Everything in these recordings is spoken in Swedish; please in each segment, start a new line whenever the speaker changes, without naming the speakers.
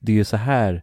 det är ju så här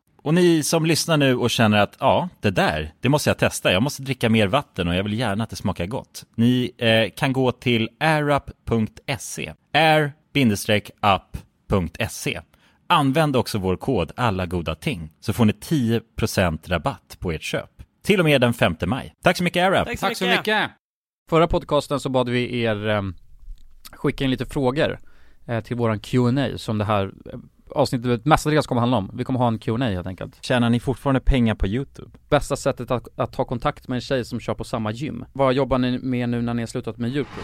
Och ni som lyssnar nu och känner att ja, det där, det måste jag testa. Jag måste dricka mer vatten och jag vill gärna att det smakar gott. Ni eh, kan gå till airup.se. air-up.se. Använd också vår kod alla goda ting så får ni 10% rabatt på ert köp. Till och med den 5 maj. Tack så mycket AirUp!
Tack så mycket!
Förra podcasten så bad vi er ehm, skicka in lite frågor eh, till våran Q&A som det här eh, avsnittet mestadels kommer handla om. Vi kommer ha en Q&A helt enkelt.
Tjänar ni fortfarande pengar på YouTube?
Bästa sättet att, att ta kontakt med en tjej som kör på samma gym. Vad jobbar ni med nu när ni har slutat med Youtube?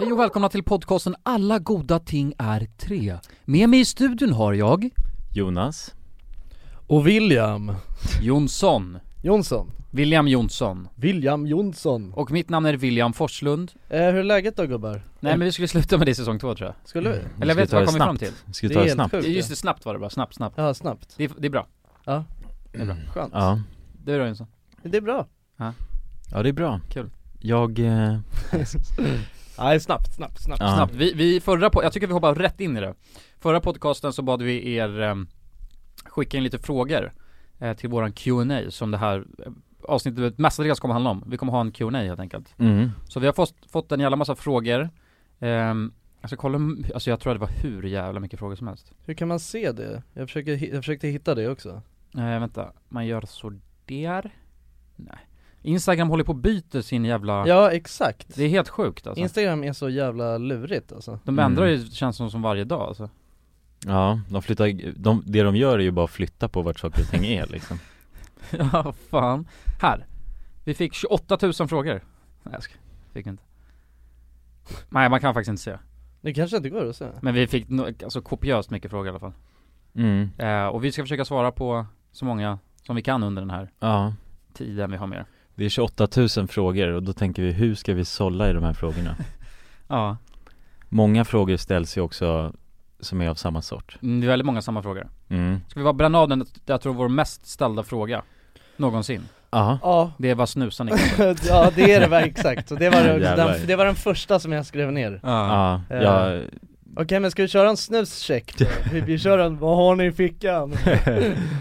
Hej och välkomna till podcasten Alla goda ting är tre. Med mig i studion har jag
Jonas?
Och William
Jonsson,
Jonsson.
William Jonsson.
William Jonsson.
Och mitt namn är William Forslund.
Eh, hur är läget då gubbar?
Nej men vi skulle sluta med det i säsong två tror jag.
Skulle Eh. vi?
Eller jag vet
Ska vi
vad
ta
kom vi
det
fram till?
snabbt? Ska vi ta det snabbt?
Just det, snabbt var det bara, snabbt, snabbt.
Ja, snabbt.
Det är, det är bra.
Ja.
Det är bra.
Skönt.
Ja.
Det är bra Jonsson.
Det är bra.
ja, det är bra.
Kul.
Jag... Eh,
Nej, snabbt, snabbt, snabbt.
ja.
Snabbt, vi, vi förra, po- jag tycker vi hoppar rätt in i det. Förra podcasten så bad vi er ehm, skicka in lite frågor eh, till våran Q&A som det här eh, avsnittet mestadels kommer handla om. Vi kommer ha en Q&A helt enkelt.
Mm.
Så vi har fått, fått en jävla massa frågor. Ehm, jag ska kolla, hur- alltså jag tror att det var hur jävla mycket frågor som helst.
Hur kan man se det? Jag, försöker, hi- jag försökte hitta det också.
Eh, vänta, man gör så där. Nej. Instagram håller på att byta sin jävla...
Ja, exakt.
Det är helt sjukt alltså.
Instagram är så jävla lurigt alltså.
De
Mm.
ändrar ju känns som, som varje dag alltså.
Ja, de flyttar, de, det de gör är ju bara att flytta på vart saker och ting är liksom
Ja, fan. Här. Vi fick 28 000 frågor. Nej jag skojar. Fick vi inte. Nej man kan faktiskt inte se.
Det kanske inte går att säga.
Men vi fick no- alltså kopiöst mycket frågor i alla fall.
mm.
Eh, och vi ska försöka svara på så många som vi kan under den här
Ja,
tiden vi har med er.
det är 28 000 frågor och då tänker vi hur ska vi sålla i de här frågorna?
Ja,
Många frågor ställs ju också som är av samma sort
mm, det är väldigt många samma frågor.
mm.
Ska vi bara bränna av den, jag tror vår mest ställda fråga någonsin.
Ja,
Ja,
Det är vad snusar ni?
ja det är det var exakt. Så Det var,
Jävlar.
den, det var den första som jag skrev ner.
ja,
Eh.
ja.
Okej men ska vi köra en snuscheck då? Vi, vi kör en, vad har ni i fickan?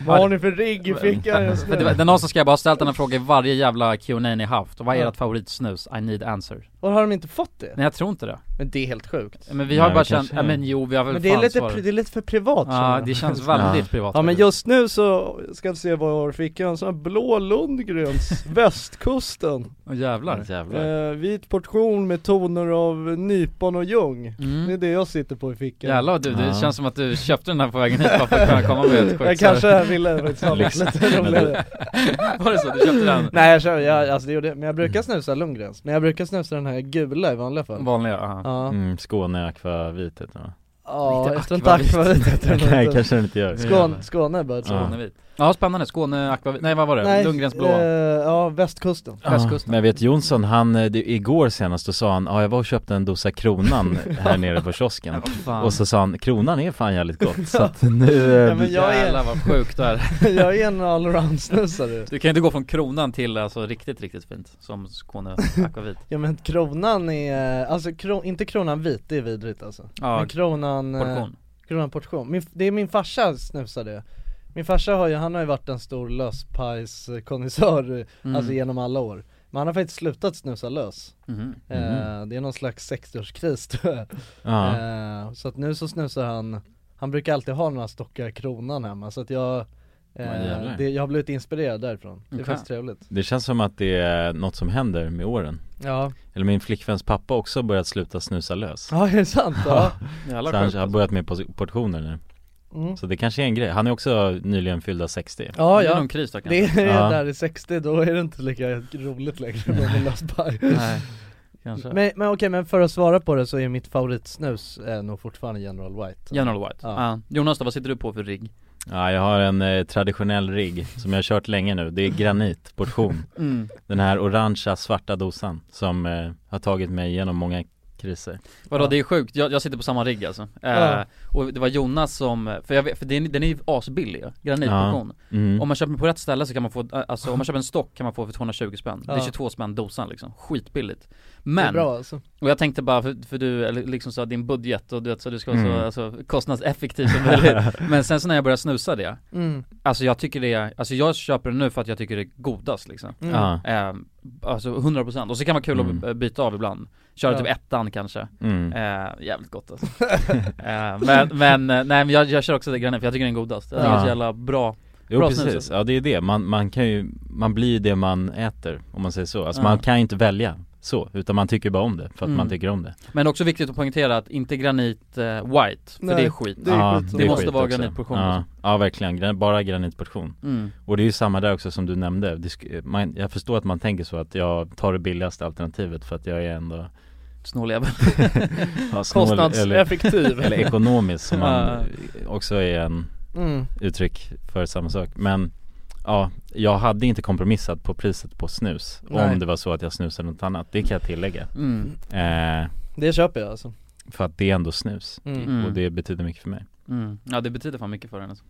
vad har ni för rigg i fickan just
För det, var-
nu?
det är någon som skrev, jag har ställt den här frågan i varje jävla Q&A ni haft. Och vad är ert favoritsnus? I need answer.
Och har de inte fått det?
Nej jag tror inte det.
Men det är helt sjukt.
Men vi har
Nej,
bara
vi kanske
känt, ja,
är-
men jo vi har väl
Men det är
fan
lite,
svarat.
pri- det är lite för privat
Ja
känner
det
jag.
känns väldigt privat
Ja men
faktiskt.
just nu så ska vi se vad jag har i fickan, så här blå Lundgrens, västkusten,
Åh,
Mm.
jävlar
Jävlar.
eh, vit portion med toner av nypon och ljung Det är
mm.
det jag sitter på i fickan
Jävlar du, det
Ja.
känns som att du köpte den här på vägen hit bara för att kunna komma med ett
Jag
sjukt så
kanske ville faktiskt ha något lite roligare
här- Var det så? Du köpte den?
Nej jag kör, jag, alltså det gjorde jag, men jag brukar snusa Lundgrens, men jag brukar snusa den här gula i vanliga fall
Vanliga, aha.
Ja,
Mm, Skåne akvavitet ja.
Ja,
Mm. Lite
efter en
akvavit.
tack var det
Nej, kanske den inte gör.
Skåne, Skåne bara
Ja.
Skånevit. Ja, spännande. Skåne, akvavit. Nej, vad var det? Lundgrens blå.
eh, ja, västkusten
Västkusten.
Men jag vet Jonsson, han, eh, det, igår senast då sa han, ja jag var och köpte en dosa Kronan här nere på kiosken
Fan.
Och så sa han, Kronan är fan jävligt gott så att nu,
ja,
eh,
men jag, är,
Jävlar vad sjukt det är.
jag är en allround-snusare
Du kan ju inte gå från kronan till alltså riktigt, riktigt fint. Som Skåne akvavit.
Ja men kronan är, alltså kro, inte kronan vit, det är vidrigt alltså
Ja,
Men kronan, eh,
portion.
kronan portion, min, det är min farsa snusar det Min farsa har ju, han har ju varit en stor löspajskonnässör eh,
Mm.
alltså genom alla år Men han har faktiskt slutat snusa lös
Mhm.
eh, Det är någon slags 60-årskris tror jag
ja.
eh, Så att nu så snusar han, han brukar alltid ha några stockar kronan hemma så att jag
Vad
eh,
jävlar.
det, Jag har blivit inspirerad därifrån, det är
Okej.
faktiskt trevligt
Det känns som att det är något som händer med åren
Ja,
Eller min flickväns pappa också har börjat sluta snusa lös
ja är det sant? Ja,
Jävlar
Så han
sjukt.
har börjat med pos- portioner nu
mm.
Så det kanske är en grej, han är också nyligen fyllda 60
ja,
Det är
ja.
nog en kris där kanske.
Det är
Ja.
där i 60, då är det inte lika roligt längre med en lös paj.
Nej, kanske.
Men, men okej, men för att svara på det så är mitt favoritsnus eh, nog fortfarande General White
General White. Ja.
Ja.
Jonas då, vad sitter du på för rigg?
Ja, jag har en eh, traditionell rigg som jag har kört länge nu, det är granitportion
Mm.
Den här orangea svarta dosan som eh, har tagit mig igenom många kriser
Vadå
Ja.
det är sjukt, jag, jag sitter på samma rigg alltså. Eh,
Ja.
Och det var Jonas som, för jag vet, för den, den är ju asbillig ju, granitportion.
mm.
Om man köper den på rätt ställe så kan man få, eh, alltså om man köper en stock kan man få för 220 spänn. Det är
Ja.
22 spänn dosan liksom, skitbilligt.
Det är
Men,
bra alltså
och jag tänkte bara för, för du, eller liksom så här, din budget och du vet så du ska vara
Mm.
så alltså, kostnadseffektiv som möjligt. Men sen så när jag började snusa det,
mm.
alltså jag tycker det är, alltså jag köper det nu för att jag tycker det är godast liksom.
Mm.
Ja,
Eh, alltså 100% och så kan det vara kul
Mm.
att eh, byta av ibland. Köra
Ja.
typ ettan kanske.
mm.
Eh, jävligt gott alltså. eh, men, men, eh, nej men jag, jag kör också det granit för jag tycker den är godast. Jag tycker
Ja.
det är så jävla bra.
Jo
Bra
precis,
snus.
ja det är det, man, man kan ju, man blir ju det man äter om man säger så Alltså
Ja.
man kan ju inte välja så, utan man tycker bara om det för att
Mm.
man tycker om det
Men också viktigt att poängtera att inte granit eh, white, för
Nej.
det är skit.
Det är
ja,
skit.
är
Det
måste
skit
vara
också.
granitportion liksom.
ja.
också.
ja verkligen, Gran- bara granitportion
Mm.
Och det är ju samma där också som du nämnde, det, sk- man, jag förstår att man tänker så att jag tar det billigaste alternativet för att jag är ändå
Snåljävel.
ja, snål eller,
Kostnadseffektiv.
eller ekonomisk som man
Ja.
också är en
Mm.
uttryck för samma sak Men ja, jag hade inte kompromissat på priset på snus
Nej.
om det var så att jag snusade något annat, det kan jag tillägga
Mm.
eh,
Det köper jag alltså
För att det är ändå snus
mm.
Mm.
och det betyder mycket för mig
Mm. Ja det betyder fan mycket för den alltså.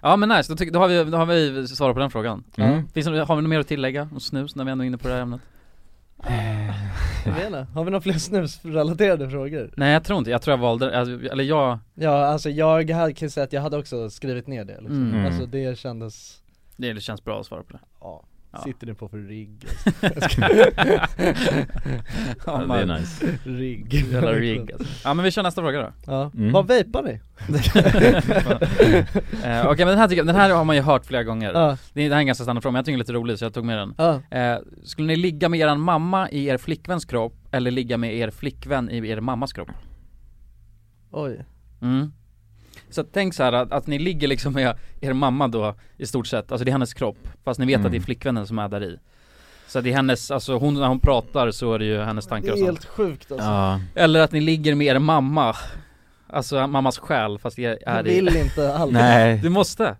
Ja men nice, då, tycker, då, har vi, då har vi svarat på den frågan.
Mm.
Finns det, har vi något mer att tillägga om snus när vi ändå är inne på det här ämnet?
Jag vet inte. Har vi några fler snusrelaterade frågor?
Nej jag tror inte, jag tror jag valde, alltså, eller jag,
Ja alltså jag hade- kan ju säga att jag hade också skrivit ner det liksom.
Mm.
Alltså det kändes,
det känns bra att svara på det.
ja,
Ja.
sitter det på för rigg?
Ja,
ja, Det
man-
är nice
rigg
Jävla rig alltså. Ja men vi kör nästa fråga då.
Ja,
Mm.
vad vejpar ni?
Eh, Okej men den här, tycker jag, den här har man ju hört flera gånger.
Ja,
Det är det här är en ganska standardfråga men jag tycker den är lite rolig så jag tog med den.
ja,
Eh, skulle ni ligga med eran mamma i er flickväns kropp eller ligga med er flickvän i er mammas kropp?
oj
Mm. Så tänk så här att, att ni ligger liksom med er mamma då i stort sett, alltså det är hennes kropp fast ni vet att det är
Mm.
flickvännen som är där i. Så det är hennes, alltså hon, när hon pratar så är det ju hennes
Det
tankar och
är
sånt.
helt sjukt alltså
Ja,
Eller att ni ligger med er mamma, alltså mammas själ fast det
Jag
är i
vill inte alls
nej
Du måste!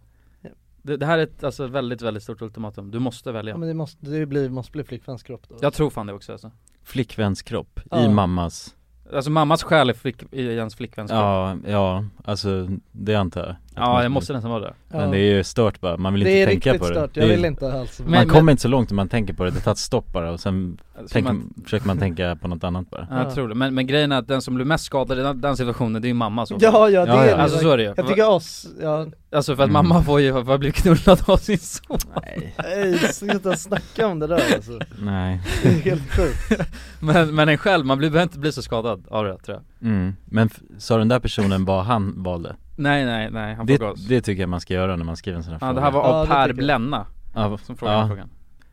Det, det här är ett alltså, väldigt, väldigt stort ultimatum, du måste välja
Ja men det måste, det blir, måste bli flickväns kropp då
Jag tror fan det också alltså.
Flickväns kropp i
Ja.
mammas,
alltså mammas själ är flick, i ens flickväns kropp
ja, ja, alltså det antar jag
Ja, det måste nästan vara det
Men det är ju stört bara, man vill
det är
inte
riktigt
tänka på det
stört,
Det
jag
är-
vill inte alls
Men-
Man
Men,
kommer inte så långt om man tänker på det, det tar ett stopp bara och sen
Alltså,
tänker,
man,
försöker man tänka på något annat bara
ja, Jag tror det, men, men grejen är att den som blir mest skadad i den, den situationen, det är ju mamma så
Ja ja, det
Ja,
är
ja.
det
Alltså så är det ju
Jag tycker oss, ja,
Alltså för att
Mm.
mamma får ju, har blivit knullad av sin son
nej, sluta snacka om det där alltså
Nej
Det är helt sjukt
Men, men en själv, man blir, behöver inte bli så skadad av det tror jag
mm. Men f- sa den där personen vad han valde?
Nej nej nej, han får
Det,
gas
det tycker jag man ska göra när man skriver en sån här
Ja
fråga
det här var
Ja,
av
det
Per
tycker jag.
Blenna
Ja,
som frågade
ja.
frågan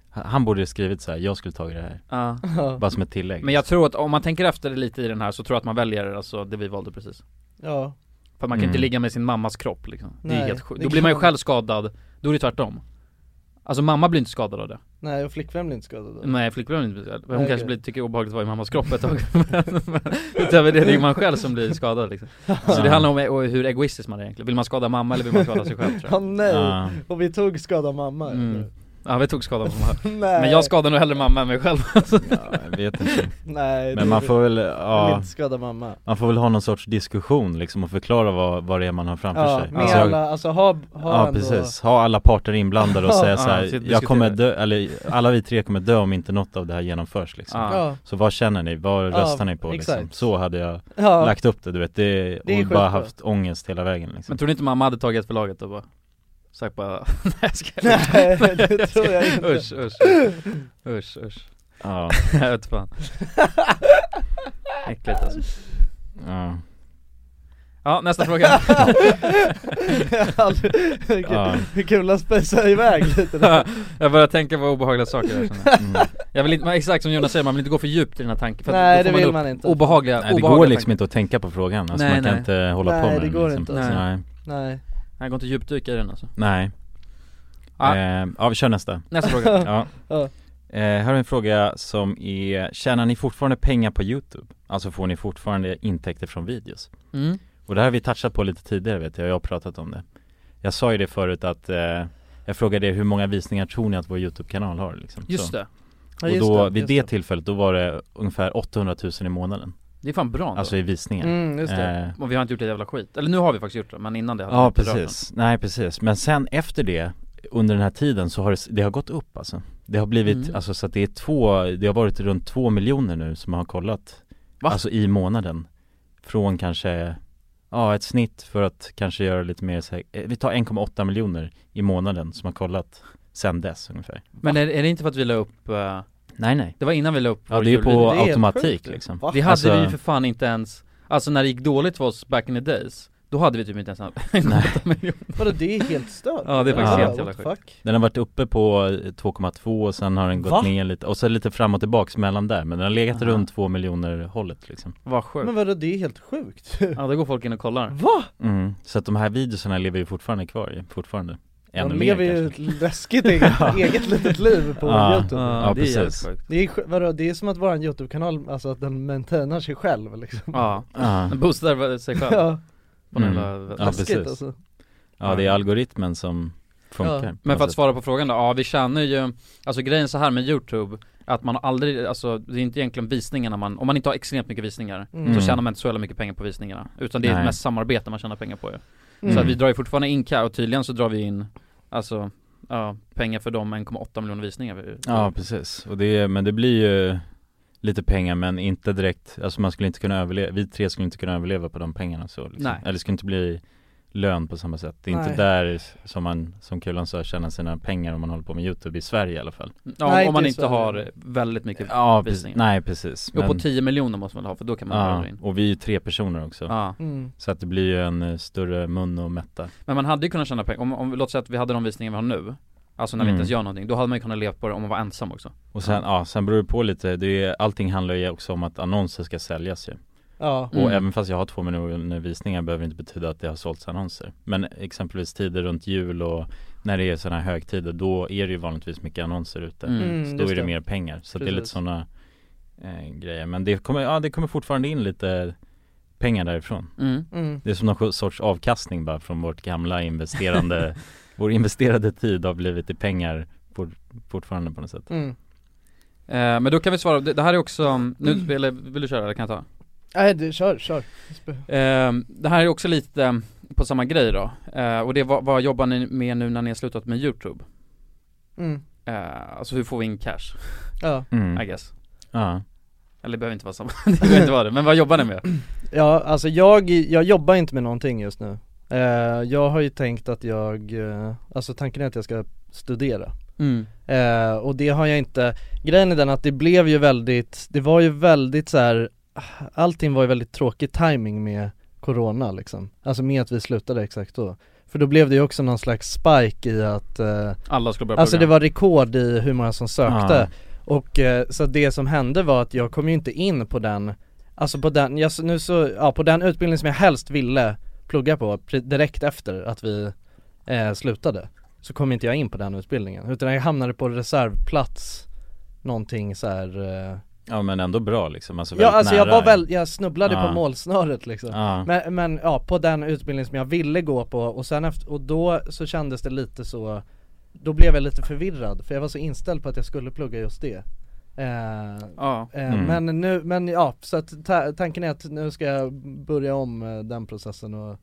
Han borde ju skrivit så här, jag skulle tagit det här,
Ja
Ja,
bara som ett tillägg
Men jag tror att om man tänker efter lite i den här så tror jag att man väljer alltså det vi valde precis
ja,
För man kan
Mm.
inte ligga med sin mammas kropp liksom. Det är
Nej,
helt sjukt.
det
Då
kan
blir man ju
man-
själv skadad, då är det tvärtom Alltså mamma blir inte skadad av det
Nej och flickvän blir inte skadad då.
Nej flickvännen blir inte skadad, hon
Nej,
kanske
okej.
blir, tycker det är obehagligt att vara i mammas kropp ett tag Men Utöver det, det är man själv som blir skadad liksom. Så det handlar om e- och hur egoistisk man är egentligen, vill man skada mamma eller vill man skada sig själv tror
Ja
jag
nej,
Ja.
och vi tog skada mamma
Mm. Ja vi tog skada på mamma
Nej,
Men jag skadar nog hellre mamma än mig själv
Ja, jag vet inte.
nej
Men man får väl, ja,
inte skada mamma
man får väl ha någon sorts diskussion liksom och förklara vad, vad det är man har framför
Ja,
sig
med
Alltså,
alla, alltså ha, ha
Ja
ändå
precis, ha alla parter inblandade och
Ja,
säga
ja,
så
sitta
här,
och
jag kommer
diskutera.
dö, eller alla vi tre kommer dö om inte något av det här genomförs liksom
Ja.
Ja,
Så vad känner ni? Vad
Ja,
röstar ni på liksom?
exakt.
Så hade jag
ja,
lagt upp det, du vet, det,
Det är
och bara
skitbra.
haft ångest hela vägen liksom
Men tror du inte mamma hade tagit för laget då bara? Sagt bara, nej jag ska
Nej, det tror jag inte.
Usch usch usch usch
Ja,
Jag vet fan Äckligt alltså
ja,
Ja nästa fråga
Vilken-
Ja.
det är kul att spejsa iväg lite där.
Jag börjar tänka på obehagliga saker här känner jag.
mm.
Jag vill inte, men exakt som Jonas säger, man vill inte gå för djupt i den här tanken för att
Nej
då får
det vill
upp
man inte
Obehagliga,
Nej, det
obehagliga
går liksom
tankar.
inte att tänka på frågan, alltså
Nej,
man kan
nej. alltså.
inte hålla på
Nej,
med
det
den
går
liksom.
inte.
Nej. Nej,
Nej
Nej, går inte djupdyka i den alltså
nej
Ah.
Eh, Ja vi kör nästa
Nästa fråga
Ja.
Ja.
Eh, här är en fråga som är, tjänar ni fortfarande pengar på YouTube? Alltså får ni fortfarande intäkter från videos?
mm.
Och det här har vi touchat på lite tidigare vet jag, jag har pratat om det Jag sa ju det förut att, eh, jag frågade er hur många visningar tror ni att vår YouTube-kanal har liksom?
Just
Så.
det,
Ja,
Och
just
då, vid
just
det tillfället, då var det ungefär 800 000 i månaden
det är fan bra ändå.
Alltså i visningar
Mm, just det
Eh,
Och vi har inte gjort ett jävla skit, eller nu har vi faktiskt gjort det, men innan det hade vi
Ja
inte rört
precis, nej precis. Men sen efter det, under den här tiden så har det, det har gått upp alltså Det har blivit,
Mm.
alltså så att det är två, det har varit runt två miljoner nu som har kollat
Va?
Alltså i månaden Från kanske, ja ett snitt för att kanske göra lite mer så här, eh, vi tar 1,8 miljoner i månaden som har kollat sen dess ungefär
den. Men är, är det inte för att vi la upp, eh,
Nej nej,
det var innan vi la upp
ja
vår
det är ju
julvideo.
på
Det är helt
automatik
sjukt.
liksom
Va?
Det hade
Alltså-
vi ju för fan inte ens, alltså när det gick dåligt för oss back in the days Då hade vi typ inte ens
Nej.
en miljoner
Vadå det är helt stört?
Ja, det är
faktiskt
helt jävla
what the fuck?
Den har varit uppe på eh, 2,2 och sen har den gått
Va?
ner lite och sen lite fram och tillbaks mellan där men den har legat
Aha.
runt 2 miljoner hållet liksom
Vad sjukt
Men vadå det är helt sjukt?
Ja då går folk in och kollar
Va?
Mm, så att de här videorna lever ju fortfarande kvar ju, fortfarande Ännu
De
mer
lever ju
kanske
ett läskigt eget, eget litet liv på
Ja.
youtube
Ja,
Ja,
det är
precis.
jävligt sjukt.
Det är, sj- vadå, det är som att våran youtube-kanal, alltså att den maintainar sig själv liksom
Ja,
Ja,
den boostar sig själv
Ja,
på den
Mm.
jävla-
Ja,
läskigt
precis.
alltså
ja det är algoritmen som funkar
Ja,
på
Men
något
för att
sätt.
svara på frågan då, ja vi tjänar ju, alltså grejen så här med youtube, att man aldrig, alltså det är inte egentligen visningarna man, om man inte har extremt mycket visningar,
Mm.
så tjänar man inte så jävla mycket pengar på visningarna. Utan det är
Nej.
mest samarbete man tjänar pengar på ju.
Mm.
Så att vi drar ju fortfarande in cash, och tydligen så drar vi in, alltså, ja, pengar för de 1,8 miljoner visningar vi,
Ja precis, och det, men det blir ju lite pengar men inte direkt, alltså man skulle inte kunna överleva, vi tre skulle inte kunna överleva på de pengarna så liksom.
Nej.
Eller det skulle inte bli lön på samma sätt, det är
Nej.
inte där som man, som Kulan sa, tjänar sina pengar om man håller på med YouTube i Sverige i alla fall
ja,
Nej,
om man
det är
inte
så.
har väldigt mycket
Ja, precis,
visningar.
nej precis
Jo, på 10 miljoner måste man ha för då kan man
ja,
dra in.
och vi är ju tre personer också
Ja.
Mm.
Så att det blir ju en eh, större mun att mätta
Men man hade ju kunnat tjäna pengar, om, om låt säga att vi hade de visningar vi har nu, alltså när vi
Mm.
inte ens gör någonting, då hade man ju kunnat leva på det om man var ensam också.
Och sen, ja, sen beror det på lite, det är, allting handlar ju också om att annonser ska säljas ju
Ja,
Och
Mm.
även fast jag har två miljoner visningar behöver det inte betyda att det har sålts annonser Men exempelvis tider runt jul och när det är sådana här högtider då är det ju vanligtvis mycket annonser ute
Mm.
Så
Mm,
då
just
är det mer pengar, så det är lite
Precis.
sådana eh, grejer Men det kommer, ja det kommer fortfarande in lite pengar därifrån
Mm.
Mm.
Det är som någon sorts avkastning bara från vårt gamla investerande Vår investerade tid har blivit i pengar for, fortfarande på något sätt
Mm.
Eh, men då kan vi svara, det, det här är också, nu,
Mm.
eller vill du köra eller kan jag ta?
Nej du, kör, kör
Eh, det här är också lite på samma grej då, eh, och det är vad, vad jobbar ni med nu när ni har slutat med YouTube?
mm.
Eh, alltså hur får vi in cash,
Ja,
mm.
I guess?
Ja,
Eller det behöver inte vara samma, det behöver inte vara det, men vad jobbar ni med?
ja alltså jag, jag jobbar inte med någonting just nu Eh, Jag har ju tänkt att jag, eh, alltså tanken är att jag ska studera
Mm.
Eh, och det har jag inte, grejen är den att det blev ju väldigt, det var ju väldigt så här. allting var ju väldigt tråkig timing med Corona liksom Alltså med att vi slutade exakt då För då blev det ju också någon slags spike i att, eh,
Alla skulle börja Ah.
alltså det
program.
var rekord i hur många som sökte
Ja.
Och eh, så det som hände var att jag kom ju inte in på den, alltså på den, jag, nu så, ja på den utbildning som jag helst ville plugga på pre- direkt efter att vi eh, slutade så kom inte jag in på den utbildningen utan jag hamnade på reservplats någonting så här. eh,
Ja men ändå bra liksom, alltså
Ja
väldigt
alltså jag
nära.
var väl, jag snubblade
Ja.
på målsnöret liksom
Ja.
men, men ja, på den utbildning som jag ville gå på och sen efter, och då så kändes det lite så Då blev jag lite förvirrad för jag var så inställd på att jag skulle plugga just det eh,
Ja.
eh,
Mm.
Men nu, men ja, så att ta, tanken är att nu ska jag börja om eh, den processen och,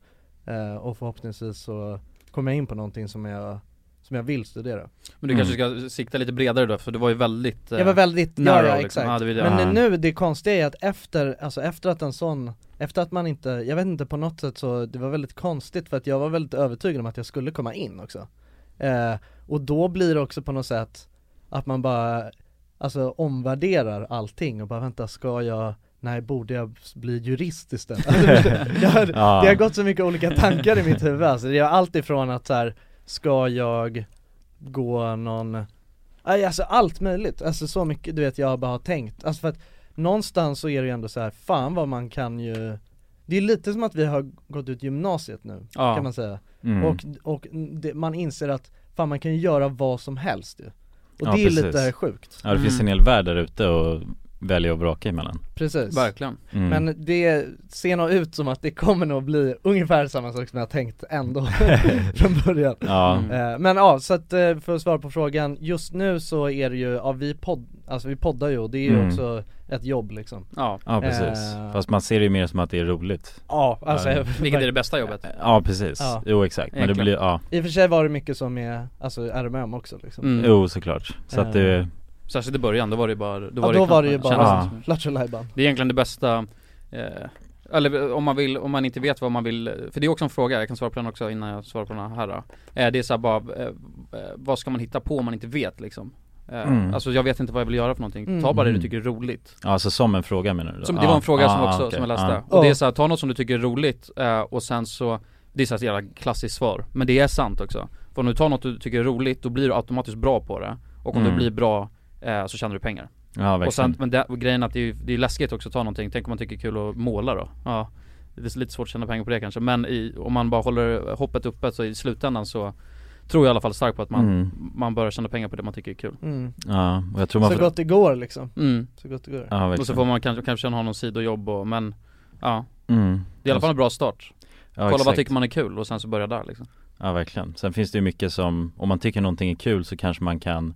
eh, och förhoppningsvis så kommer jag in på någonting som jag, som jag vill studera
Men du
Mm.
kanske ska sikta lite bredare då, för du var ju väldigt eh,
Jag var väldigt, ja,
narrow
ja
liksom.
exakt
Ja, det var det.
men
Ja.
nu, det konstiga är att efter, alltså efter att en sån, efter att man inte, jag vet inte på något sätt så, det var väldigt konstigt för att jag var väldigt övertygad om att jag skulle komma in också. Eh, och då blir det också på något sätt att man bara, alltså omvärderar allting och bara vänta, ska jag, nej borde jag bli jurist istället? jag, har-
Ja.
Det har gått så mycket olika tankar i mitt huvud alltså, det är allt ifrån att så här, ska jag gå någon Aj, Alltså allt möjligt, alltså så mycket du vet jag bara har tänkt, alltså för att någonstans så är det ju ändå så här, fan vad man kan ju Det är lite som att vi har gått ut gymnasiet nu,
Ja.
kan man säga,
Mm.
och, och det, man inser att fan man kan ju göra vad som helst ju Och
Ja,
det är
precis.
lite sjukt,
Ja det finns
Mm.
en hel värld där ute och välja och vraka emellan
precis
Verkligen.
mm.
Men det ser nog ut som att det kommer nog bli ungefär samma sak som jag tänkt ändå från början
Ja,
Eh, Men ja, så att eh, för att svara på frågan, just nu så är det ju, ja vi podd, alltså vi poddar ju och det är ju
Mm.
också ett jobb liksom
Ja,
ja precis.
Eh.
Fast man ser det ju mer som att det är roligt
Ja, alltså
Ja.
vilket är det bästa jobbet.
Ja precis,
Ja.
jo exakt. Men det
Egentligen.
blir, ja,
i och för sig var det mycket som är, alltså RMM också liksom
Mm.
jo såklart. Så att
Eh.
det,
Särskilt i början, då var det ju bara, då
Ja
var
då
knappt
var det ju
man
bara
kände.
Ja.
ja. Lattjo Lajban
Det är egentligen det bästa eh, Eller om man vill, om man inte vet vad man vill För det är också en fråga, jag kan svara på den också innan jag svarar på den här då. eh, Det är såhär bara, eh, eh, vad ska man hitta på om man inte vet liksom? Eh,
Mm.
Alltså jag vet inte vad jag vill göra för någonting,
Mm.
ta bara det du
Mm.
tycker är roligt
ja alltså som en fråga menar du? då?
som, Det
Ja,
var en fråga
ja,
som
ja, okej,
också,
Ah. Oh.
som jag läste
ja.
Och det är
Ja.
såhär, ta något som du tycker är roligt eh, och sen så Det är såhär ett jävla klassiskt svar, men det är sant också För om du tar något du tycker är roligt, då blir du automatiskt bra på det Och om
Mm.
du blir bra eh, så tjänar du pengar.
Ja, ja verkligen.
Och sen, men det, och grejen är att det är, ju- det är läskigt också att ta någonting, tänk om man tycker det är kul att måla då? Ja Det är lite svårt att tjäna pengar på det kanske, men i, om man bara håller hoppet uppe så i slutändan så Tror jag i alla fall starkt på att man,
Mm.
man börjar tjäna pengar på det man tycker är kul
mm.
Ja, och jag tror man
Så gott det går liksom,
mm.
så gott det går
Ja verkligen.
Och så får man kanske, kanske ha någon sidojobb och, men Ja,
mm.
det är i alla fall en bra start
ja,
Kolla vad
exakt.
tycker man är kul och sen så börja där liksom
Ja verkligen. Sen finns det ju mycket som, om man tycker någonting är kul så kanske man kan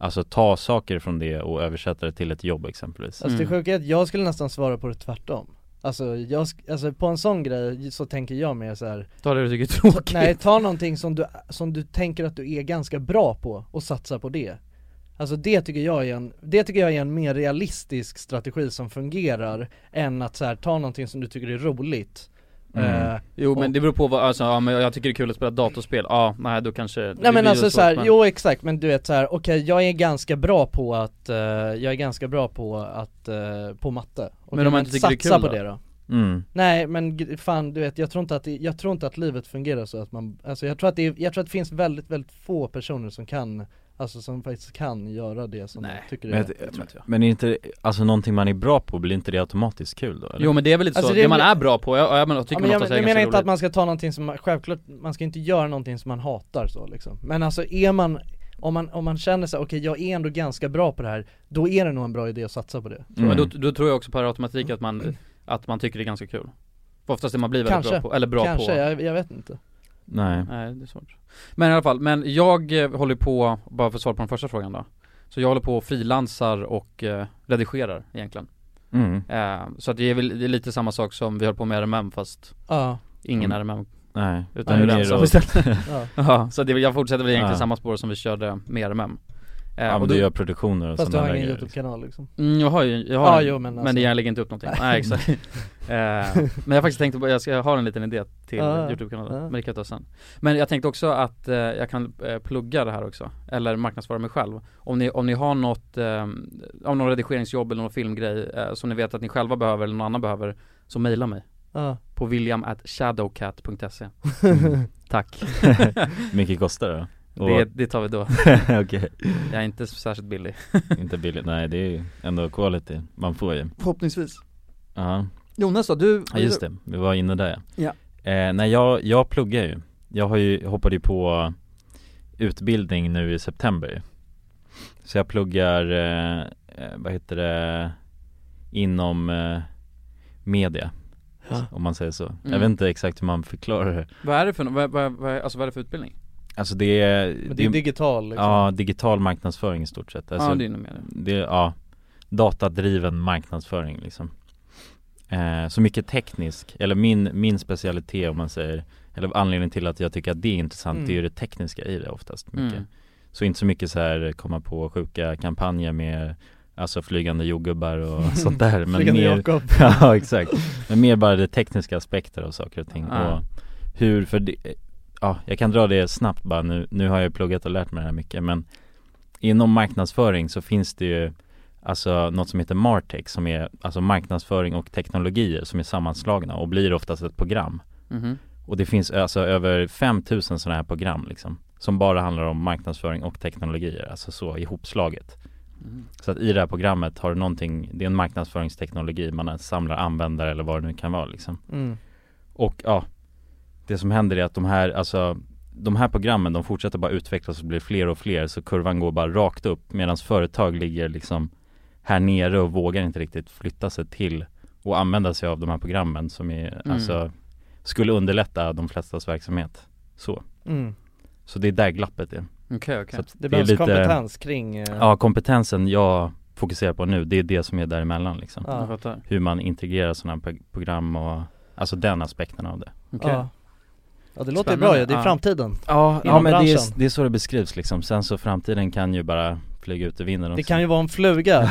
Alltså ta saker från det och översätta det till ett jobb exempelvis
Alltså det
Mm.
sjuka är att jag skulle nästan svara på det tvärtom Alltså jag, sk- alltså på en sån grej så tänker jag mer så här.
Ta det du tycker är tråkigt
Nej, ta någonting som du, som du tänker att du är ganska bra på och satsa på det. Alltså det tycker jag är en, det tycker jag är en mer realistisk strategi som fungerar än att så här, ta någonting som du tycker är roligt.
Mm.
Eh,
Jo men det beror på vad, alltså, ja, men jag tycker det är kul att spela datorspel, ja nej då kanske det
Nej
blir
men
ju
alltså
svårt,
så här,
men-
jo exakt men du vet så här, okej jag är ganska bra på att, eh, jag är ganska bra på att, eh, på matte. Okej,
Men om man inte tycker det är
satsa
kul
på
då?
det då?
typ-
Mm,
Nej men g- fan du vet, jag tror inte att, det- jag tror inte att livet fungerar så att man, alltså jag tror att det, är- jag tror att det finns väldigt, väldigt få personer som kan, alltså som faktiskt kan göra det som
Nej,
de tycker
men,
är
men är inte, alltså någonting man är bra på, blir inte det automatiskt kul då? Eller?
Jo men det är väl lite
Alltså,
så,
det är
det, man
väl-
är bra på, jag, jag, men, jag
Ja,
tycker
men
man
jag,
oftast är
jag
ganska
menar
roligt
inte att man ska ta någonting som, man- självklart, man ska inte göra någonting som man hatar så liksom Men alltså är man, om man, om man känner sig okej jag är ändå ganska bra på det här, då är det nog en bra idé att satsa på det
Mm.
Men då, då tror jag också per automatik att man, att man tycker det är ganska kul För Oftast är man blir väldigt
Kanske.
bra på, eller bra
Kanske,
på
jag, jag vet inte
Nej
Nej det är svårt Men i alla fall, men jag eh, håller på, bara för att svara på den första frågan då Så jag håller på och frilansar och eh, redigerar egentligen
mm.
eh, Så att det är väl det är lite samma sak som vi höll på med RMM fast
Ja,
ingen
Mm.
RMM
Nej,
Utan
Nej,
du
det är
rensar
då-
ja.
Ja, så det, jag fortsätter väl egentligen
Ja.
samma spår som vi körde med RMM eh,
Ja
och
men
då,
du gör produktioner och
Fast du
sådana
har
där
ingen
grejer liksom.
YouTube-kanal liksom
mm, jag har ju, jag har
Ja,
en-
jo, men alltså-
men jag lägger inte upp någonting, nej exakt eh, Men jag faktiskt tänkte på, jag ska ha en liten idé till
Ja,
Youtube-kanalen,
ja.
men det kan jag ta sen Men jag tänkte också att eh, jag kan eh, plugga det här också, eller marknadsföra mig själv Om ni, om ni har något, eh, om någon redigeringsjobb eller någon filmgrej eh, som ni vet att ni själva behöver eller någon annan behöver Så mejla mig
Ja,
på william.shadowcat.se Tack,
Mycket kostar det då? Och-
det, det tar vi då
Okej,
Jag är inte särskilt billig
inte billigt, nej det är ju ändå quality, man får ju
Förhoppningsvis
Ja,
Jonas då, du
ja just det, vi var inne där
Ja.
eh, Nej jag, jag pluggar ju, jag har ju, hoppade ju på utbildning nu i september ju. Så jag pluggar, eh, eh, vad heter det, inom eh, media
Ja.
Typ, Om man säger så. Jag
Mm.
vet inte exakt hur man förklarar det
Vad är det för, vad, vad, vad, alltså vad är det för utbildning?
Alltså det är,
Men det är digital liksom.
ja, digital marknadsföring i stort sett alltså,
ja det är nog mer det.
det, ja, datadriven marknadsföring liksom. Eh, så mycket teknisk, eller min, min specialitet om man säger, eller anledningen till att jag tycker att det är intressant,
Mm.
det är ju det tekniska i det oftast mycket.
Mm.
Så inte så mycket så här komma på sjuka kampanjer med Alltså flygande jordgubbar och sånt där men
Flygande
mer,
Jakob.
Ja exakt, men mer bara det tekniska aspekter av saker och ting
Ja.
och hur, för det, ja jag kan dra det snabbt bara nu, nu har jag pluggat och lärt mig det här mycket men Inom marknadsföring så finns det ju Alltså något som heter Martech som är alltså marknadsföring och teknologier som är sammanslagna och blir oftast ett program
Mhm.
Och det finns alltså över 5000 sådana här program liksom Som bara handlar om marknadsföring och teknologier, alltså så ihopslaget
Mhm.
så att i det här programmet har du någonting, det är en marknadsföringsteknologi, man samlar användare eller vad det nu kan vara liksom.
Mm.
Och ja, det som händer är att de här, alltså de här programmen de fortsätter bara utvecklas och blir fler och fler så kurvan går bara rakt upp medan företag ligger liksom här nere och vågar inte riktigt flytta sig till och använda sig av de här programmen som är,
Mm.
alltså skulle underlätta de flestas verksamhet. Så,
Mm.
så det är där glappet är.
Okej okej.
Så att
Det
är
behövs
lite-
kompetens kring eh,
Ja, kompetensen jag fokuserar på nu, det är det som är däremellan liksom.
ja.
Jag fattar.
hur man integrerar sådana här pro- program och Alltså den aspekten av det
Okej.
Ja. ja det låter ju
Spännande.
bra ju, det är
Ja.
framtiden
Ja,
Inom
men det
branschen.
är, det är så det beskrivs liksom, sen så framtiden kan ju bara flyga ut i vinden
Det kan ju vara en fluga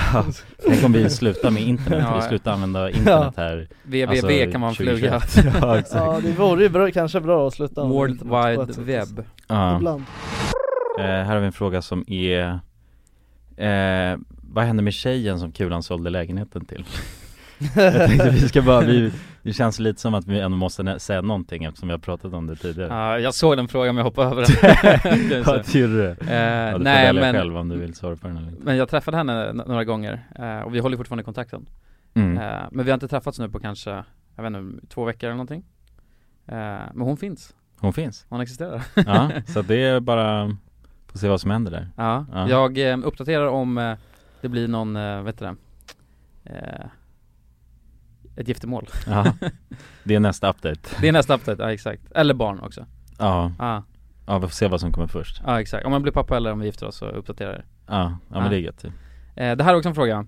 Sen kommer vi sluta med internet,
Ja.
vi slutar använda internet här
VVV
Alltså,
kan man fluga.
2021. Ja exakt
Ja det vore ju bra, kanske bra att sluta med
World
internet på ett
Wide
sätt.
Web.
ja.
Ibland
eh, Här har vi en fråga som är eh, Vad hände med tjejen som Kulan sålde lägenheten till? Jag tänkte vi ska bara, vi, det känns lite som att vi ändå måste nä- säga någonting eftersom vi har pratat om det tidigare
Ja, jag såg den frågan men jag hoppade över den. Kan jag säga.
Vad gjorde du?
Eh,
Ja, du får
nej
välja
men,
själv om du vill svara på den eller inte
men jag träffade henne n- några gånger eh, och vi håller fortfarande kontakten.
Mm.
Eh, men vi har inte träffats nu på kanske, jag vet inte, två veckor eller någonting. Eh, men hon finns,
Hon finns.
hon existerar.
Ja, så det är bara, får se vad som händer där.
Ja,
Ja.
jag eh, uppdaterar om eh, det blir någon, eh, vet du det, eh, ett giftermål.
Ja. Det är nästa update.
Det är nästa update, ja exakt. Eller barn också.
Ja,
Ja,
ja vi får se vad som kommer först.
ja exakt. Om man blir pappa eller om vi gifter oss så uppdaterar jag det.
Ja, ja men
Ja.
det är gött typ. ju.
Eh, det här är också en fråga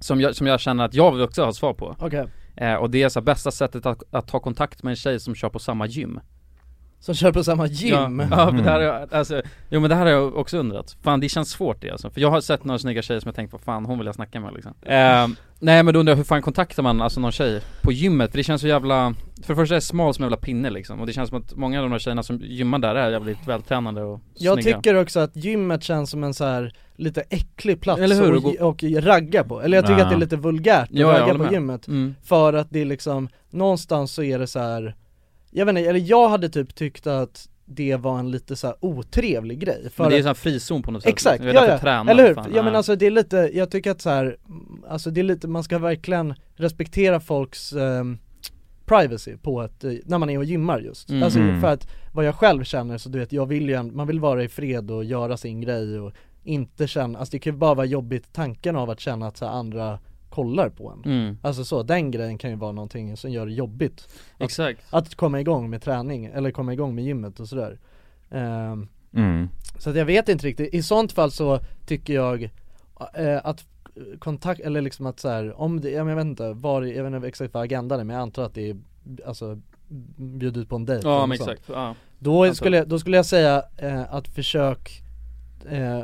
som jag, som jag känner att jag vill också ha svar på.
Okej,
Eh, och det är så här, bästa sättet att, att ta kontakt med en tjej som kör på samma gym.
som kör på samma gym
Ja, ja för det här har jag, alltså, jo men det här har jag också undrat. Fan det känns svårt det alltså. För jag har sett några snygga tjejer som jag tänkt på, fan hon vill jag snacka med liksom. Ehm, nej men då undrar jag hur fan kontaktar man alltså någon tjej på gymmet? För det känns så jävla, för det första är det smal som en jävla pinne liksom. Och det känns som att många av de här tjejerna som gymmar där är jävligt vältränade och
Jag
snygga.
tycker också att gymmet känns som en så här lite äcklig plats
Eller hur?
Och, och ragga på, eller jag tycker
Ja.
att det är lite vulgärt att
Ja, jag
ragga
håller
på
med.
gymmet
Mm.
För att det är liksom, någonstans så är det så här. Jag vet inte, eller jag hade typ tyckt att det var en lite så här otrevlig grej för
Men det är ju
att-
sån här frizon på något sätt.
Exakt,
liksom.
ja,
därför
ja.
tränar,
eller hur?
fan.
ja men
Ja.
alltså det är lite, jag tycker att så här, mm, alltså det är lite, man ska verkligen respektera folks ehm, privacy på att, eh, när man är och gymmar just.
Mm.
Alltså
Mm.
för att vad jag själv känner så du vet, jag vill ju, en- man vill vara i fred och göra sin grej och inte känna, alltså det kan ju bara vara jobbigt tanken av att känna att så här, andra kollar på en.
Mm.
Alltså så, den grejen kan ju vara någonting som gör det jobbigt
Exakt.
att komma igång med träning eller komma igång med gymmet och sådär. Ehm,
Mm.
så att jag vet inte riktigt, i sånt fall så tycker jag eh, att kontakt, eller liksom att så här, om det, jag vet inte, var, jag vet inte exakt vad agendan är men jag antar att det är, alltså bjud ut på en dejt eller
Ja
något
men
sånt.
exakt, ja.
Då
Antar
skulle, jag- då skulle jag säga eh, att försök, eh,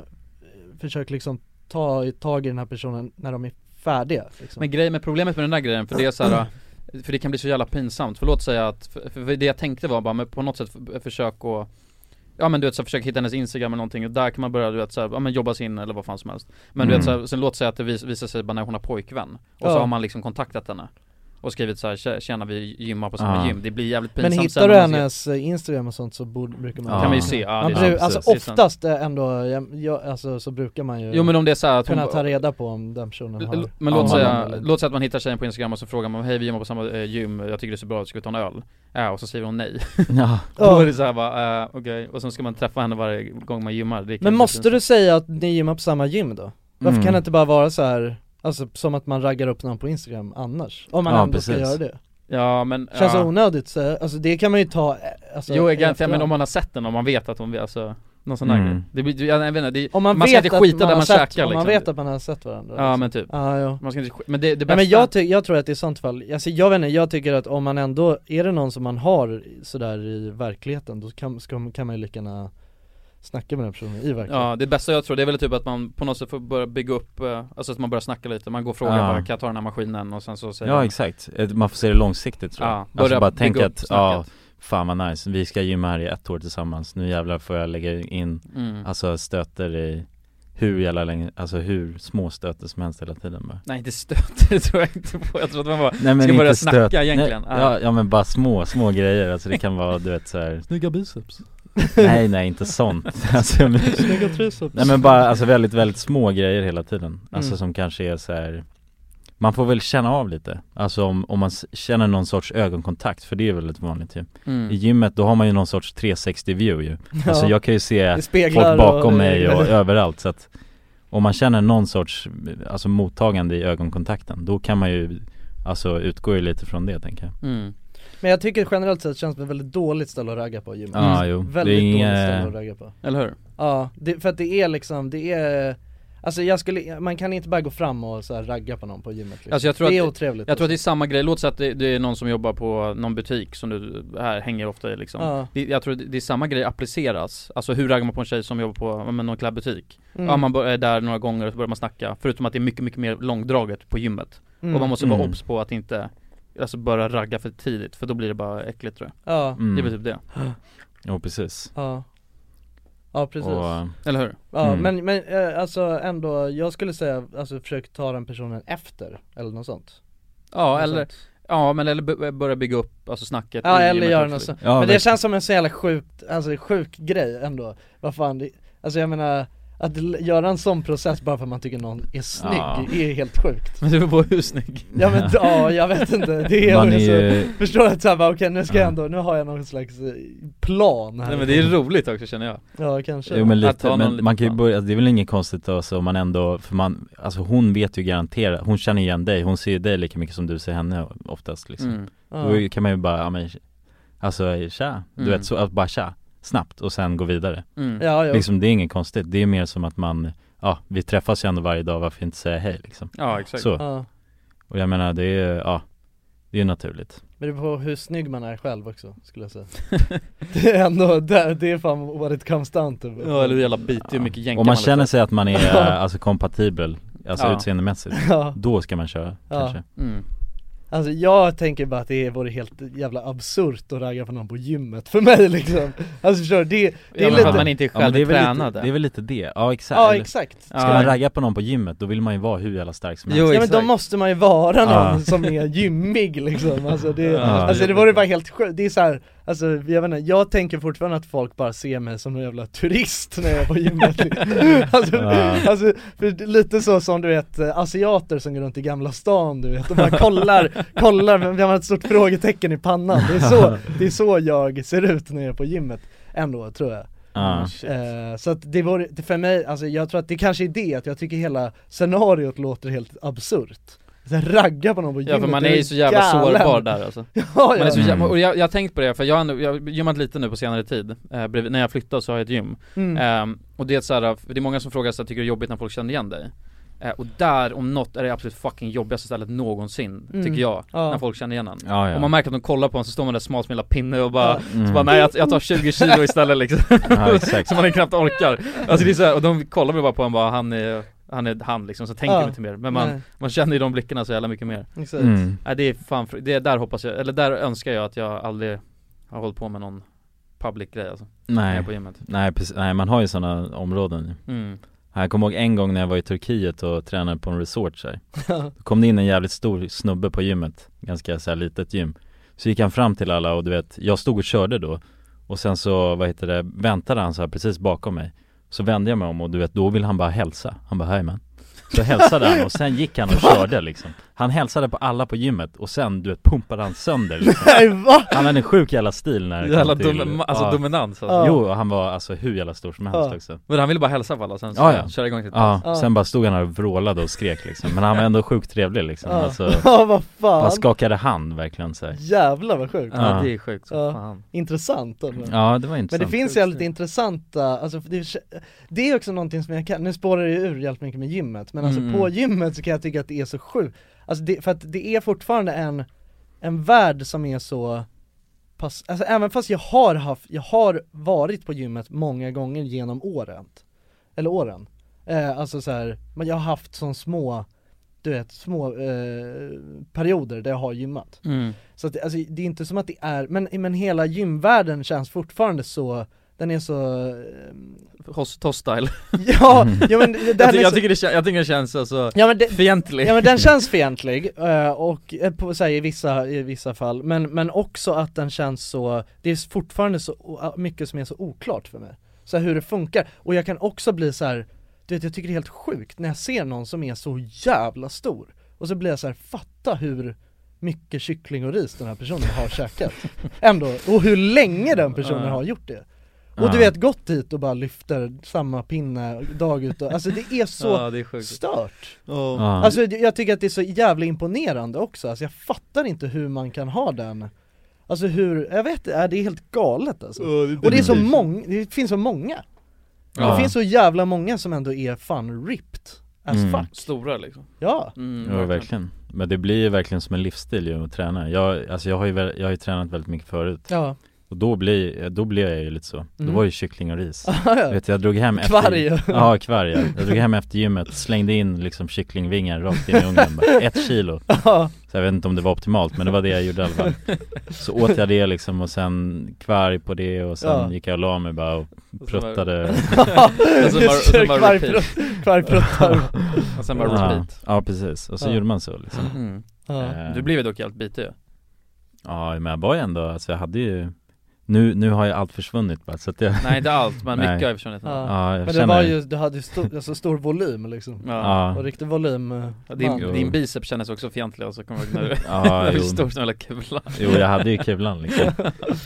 försök liksom ta i- tag i den här personen när de är färdiga liksom.
Men grejen med problemet med den där grejen, för det är så här. För det kan bli så jävla pinsamt, för låt säga att, för, för det jag tänkte var bara men på något sätt f- försök att Ja men du vet så här, försök hitta hennes instagram eller någonting och där kan man börja du vet så här, ja men jobba sig in eller vad fan som helst Men du vet
Mm.
så här, sen låt säga att det vis, visar sig bara när hon har pojkvän Och
Ja.
så har man liksom kontaktat henne och skrivit så här, "Tje- tjena vi gymmar på samma
Ja.
gym, det blir jävligt
Men
pinsamt
hittar
sen
du
när man ser-
hennes eh, Instagram och sånt så borde, brukar man
Ja.
Kan vi ju se, ja,
man
det är
bru-
sant.
Alltså
Det är sant.
oftast eh, ändå, jag, jag, alltså så brukar man ju
Jo men om det är så här att hon,
kunna ta reda på om den personen har
L- Men
Ja,
låt
man-
säga, låt säga att man hittar tjejen på instagram och så frågar man hej vi gymmar på samma eh, gym, jag tycker det ser bra ut, ska vi ta en öl? Ja och så säger hon nej.
Ja.
Ja.
Då är det såhär bara, eh, okej, och sen ska man träffa henne varje gång man gymmar Det kan
Men
bli
måste
pinsamt.
du säga att ni gymmar på samma gym då? Varför
Mm.
kan det inte bara vara så här alltså som att man raggar upp någon på instagram annars? Om man
Ja,
ändå ska
precis.
göra det
Ja men,
Känns
ja.
onödigt så, alltså det kan man ju ta eh, alltså,
Jo egentligen, men
efterhand.
om man har sett den, om man vet att hon, alltså Någon sån där
Mm.
grej det blir, jag, jag vet inte, det,
om man,
man ska
vet
inte
att
skita
man
där
har
man
sett,
käkar
Om
liksom.
man vet att man har sett varandra
Ja
liksom.
men typ,
Ja, jo.
man ska inte skita, men det, det bästa
Nej men jag, ty- jag tror att i sånt fall, alltså jag vet inte, jag tycker att om man ändå, är det någon som man har sådär i verkligheten, då kan, ska, kan man ju lika gärna snacka med den personen i verkligheten
Ja det bästa jag tror det är väl typ att man på något sätt får börja bygga upp, eh, alltså att man börjar snacka lite, man går och frågar
Ja.
bara, kan jag ta den här maskinen? Och sen så säger
ja
man,
exakt, Ett- man får se det långsiktigt tror jag
Ja, börja
Alltså bara
bygga
tänka
upp
att, ja,
snacket.
fan vad nice, vi ska gymma här i ett år tillsammans, nu jävlar får jag lägga in,
mm.
alltså stöter i hur jävla länge, alltså hur små stöter som helst hela tiden bara
Nej inte stöt, det tror jag inte på, jag tror att man bara
Nej men
Ska börja
inte
snacka
stöt-
egentligen.
Nej,
Ja.
ja, ja men bara små, små grejer, alltså det kan vara du vet såhär Snygga biceps Nej nej inte sånt, alltså, men,
Snygga triceps
Nej men bara alltså väldigt, väldigt små grejer hela tiden Alltså
Mm.
som kanske är så här. Man får väl känna av lite, alltså om, om man s- känner någon sorts ögonkontakt, för det är väldigt vanligt ju I
mm.
gymmet då har man ju någon sorts 360 view ju Alltså jag kan ju se
Det speglar
folk bakom
och-
mig och överallt så att Om man känner någon sorts, alltså mottagande i ögonkontakten, då kan man ju Alltså utgår ju lite från det tänker jag
Mm.
Men jag tycker generellt sett känns det väldigt dåligt ställe att ragga på i gymmet
Ja jo,
Mm. Väldigt
det är
dåligt ställe att
inget
ragga på
Eller hur?
Ja, det, för att det är liksom, det är Alltså jag skulle, man kan inte bara gå fram och så här ragga på någon på gymmet liksom.
Alltså jag tror
Det är
att-
otrevligt alltså.
Jag tror att det är samma grej, låt säga att det, det är någon som jobbar på någon butik som du här hänger ofta i liksom
Ja.
det, Jag tror det, det är samma grej appliceras, alltså hur raggar man på en tjej som jobbar på, ja, men någon klädbutik?
Mm.
Ja man bör- är där några gånger och så börjar man snacka, förutom att det är mycket, mycket mer långdraget på gymmet
Mm.
Och man måste vara
Mm.
obs på att inte Alltså börja ragga för tidigt, för då blir det bara äckligt tror jag
Ja,
Det är väl
mm.
typ det,
Jo precis,
ja Ja precis
och
eller hur?
Ja
Mm.
men, men eh, alltså ändå, jag skulle säga, alltså försök ta den personen efter, eller något sånt
Ja
Något
eller,
sånt.
ja men eller b- börja bygga upp, alltså snacket
Ja
i
eller
gymmet
göra
också,
något
liksom.
sånt,
Ja,
men det
verkligen.
känns som en så jävla sjukt, alltså sjuk grej ändå Vad fan, det, alltså jag menar, att l- göra en sån process bara för att man tycker någon är snygg,
Ja.
är helt sjukt
Men det beror på hur snygg
Ja men ja, jag vet inte, det är,
man är
så,
ju
förstår att såhär bara okej nu ska jag
Ja.
ändå, nu har jag någon slags eh, plan här
Nej men det är roligt också känner jag
Ja kanske
Jo men
Att
lite,
ta någon
men
lite
man kan ju
fan.
börja, det är väl inget konstigt alltså, om man ändå, för man, alltså hon vet ju garanterat, hon känner igen dig, hon ser ju dig lika mycket som du ser henne oftast liksom
mm.
ja.
Då kan man ju bara, ja men, alltså tja, du
Mm.
vet så, att bara tja, snabbt och sen gå vidare
Mm.
Ja, ja.
Liksom det är inget konstigt, det är mer som att man, ja vi träffas ju ändå varje dag, varför inte säga hej liksom?
Ja exakt
Så,
ja.
och jag menar det är ju, ja, det är ju naturligt
Men det beror på hur snygg man är själv också, skulle jag säga Det är ändå, det, det är fan what it comes down to
Ja eller hur jävla bitig, hur mycket
Om
jänkar
man,
luktar.
känner sig att man är, eh, alltså kompatibel, alltså
Ja.
utseendemässigt,
Ja,
då ska man köra
Ja.
kanske
mm.
alltså jag tänker bara att det vore helt jävla absurt att ragga på någon på gymmet för mig liksom Alltså förstår du? det, det
Det
är
är
men
lite...
lite
att man inte är
Ja, men det, är väl
självtränad
lite, det är väl lite det, ja exakt
Ja
Eller-
exakt
Ja.
Ska man ragga på någon på gymmet, då vill man ju vara hur jävla stark som helst
Jo,
Ja men då
exakt.
måste man ju vara någon
Ja.
som är gymmig liksom, alltså det,
Ja,
alltså det
jobbigt.
vore bara helt sjukt, det är så här, alltså jag vet inte, jag tänker fortfarande att folk bara ser mig som en jävla turist när jag är på gymmet alltså,
Ja.
alltså, för det är lite så som du vet, eh, asiater som går runt i Gamla stan du vet, och bara kollar, kollar, men jag har ett stort frågetecken i pannan, det är så, det är så jag ser ut när jag är på gymmet ändå tror jag
Mm.
Ja.
Typ.
Eh, så att det vore, det för mig, alltså jag tror att det kanske är det, att jag tycker hela scenariot låter helt absurt Så här, Ragga på någon på gymmet,
Ja för man
det
är ju så jävla
galen.
sårbar där alltså.
ja, ja.
Man är så
Mm.
jävla, och jag, jag har tänkt på det, för jag har ändå- jag har gymmat lite nu på senare tid, eh, bredvid, när jag flyttade så har jag ett gym
mm.
Ehm, Och det är så här, för det är många som frågar så här, tycker det är jobbigt när folk känner igen dig? Eh, och där om något är det absolut fucking jobbigaste stället någonsin,
Mm.
tycker jag,
Ja.
när folk känner igen en
Ja, ja.
Om man märker att de kollar på en så står man där smal som en lilla pinne och bara,
Ja.
Mm.
så bara nej jag, jag tar 20 kilo istället liksom
ja, exakt.
Som man knappt orkar Alltså det är så här, och de kollar väl bara på en bara han är, han är han liksom, så tänker
Ja.
de inte mer Men man,
Nej,
man känner ju de blickarna så jävla mycket mer
exakt.
Mm.
Nej det är fan, fr- det är där hoppas jag, eller där önskar jag att jag aldrig har hållit på med någon public grej alltså, när jag är
Nej,
på gymmet
nej precis, nej man har ju sådana områden
mm.
Jag kommer ihåg en gång när jag var i Turkiet och tränade på en resort så här. Då kom det in en jävligt stor snubbe på gymmet, ganska så här litet gym Så gick han fram till alla och du vet, jag stod och körde då Och sen så, vad heter det, väntade han så här precis bakom mig Så vände jag mig om och du vet, då vill han bara hälsa Han bara hej man Så hälsade han och sen gick han och körde liksom Han hälsade på alla på gymmet och sen du vet pumpade han sönder liksom.
Nej va?
Han hade en sjuk jävla stil när det kom
Jävla
till-
dom, alltså
ja.
dominans alltså.
Ja.
Jo, och han var alltså hur jävla stor som helst
Ja.
också
Men han ville bara hälsa på alla sen så
Ja, ja.
köra igång sitt
Ja,
Ja.
sen bara stod han här och vrålade och skrek liksom Men han var ändå sjukt trevlig liksom
Ja.
alltså,
Ja vad
Han
fan
skakade hand verkligen så här.
Jävlar vad sjukt
Ja,
Ja.
det är sjukt som
Ja.
fan
Intressant alltså. ändå.
Ja det var
Mm. Men
intressant
det finns jävligt intressanta, alltså det, är- det är också någonting som jag kan, nu spårar det ur jävligt mycket med gymmet, men alltså
Mm.
på gymmet så kan jag tycka att det är så sjukt, alltså det, för att det är fortfarande en, en värld som är så pass, alltså även fast jag har haft, jag har varit på gymmet många gånger genom åren, eller åren, eh, alltså så här, men jag har haft sån små, du vet, små eh, perioder där jag har gymmat
mm.
så att, alltså, det är inte som att det är, men, men hela gymvärlden känns fortfarande så, den är så, eh,
Hostile
ja, ja men den
Alltså, jag, ty-
är
jag,
så,
tycker det, kän- jag tycker det känns alltså
ja men, det,
fientlig
ja men den känns fientlig, eh, och eh, på, så här, i, vissa, i vissa fall, men, men också att den känns så, det är fortfarande så o- mycket som är så oklart för mig Så här, hur det funkar, och jag kan också bli så här. du vet jag tycker det är helt sjukt när jag ser någon som är så jävla stor Och så blir jag så här, fatta hur mycket kyckling och ris den här personen har käkat Ändå, och hur länge den personen har gjort det Och
Ja.
du vet, gått hit och bara lyfter samma pinne dag ut och, alltså det är så
Ja det är sjukt
stört
ja.
Alltså det- jag tycker att det är så jävla imponerande också, alltså jag fattar inte hur man kan ha den Alltså hur, jag vet inte, det är helt galet alltså Och det är så många, det finns så många
Ja.
Det finns så jävla många som ändå är fan ripped as
Mm.
fuck
Stora liksom
Ja,
mm,
Ja verkligen Men det blir ju verkligen som en livsstil ju att träna Jag, alltså jag har ju, väl- jag har ju tränat väldigt mycket förut
ja,
Och då blir, då blev jag ju lite så Då
Mm.
var det ju kyckling och ris
ja,
Vet du, jag drog hem efter
Kvarg.
Ja kvarg ja. Jag drog hem efter gymmet, slängde in liksom kycklingvingar rakt in i ugnen bara, ett kilo
ja,
Så jag vet inte om det var optimalt men det var det jag gjorde i alla fall Så åt jag det liksom och sen kvarg på det och sen
Ja.
gick jag och la mig bara och
Mm.
pruttade
Och sen bara, och sen bara repeat
kvargpruttar
Och sen bara
ja.
repeat
ja precis, och så
Ja.
gjorde man så liksom
mm.
ja.
Eh,
Du blev ju dock helt bitig ju
Ja men jag var ju ändå, alltså jag hade ju Nu, nu har ju allt försvunnit bara så att jag
Nej inte allt, men
Nej.
mycket har jag försvunnit
Ja.
Ja jag
Men det
känner
var ju, du hade ju stor, alltså stor volym liksom
Ja.
Och
Ja,
riktig volym eh,
Ja, Din,
man.
Jo.
din biceps kändes också fientlig och så kommer jag ihåg när du
ja
när du
jo,
stod som en jävla kula
jo jag hade ju kulan liksom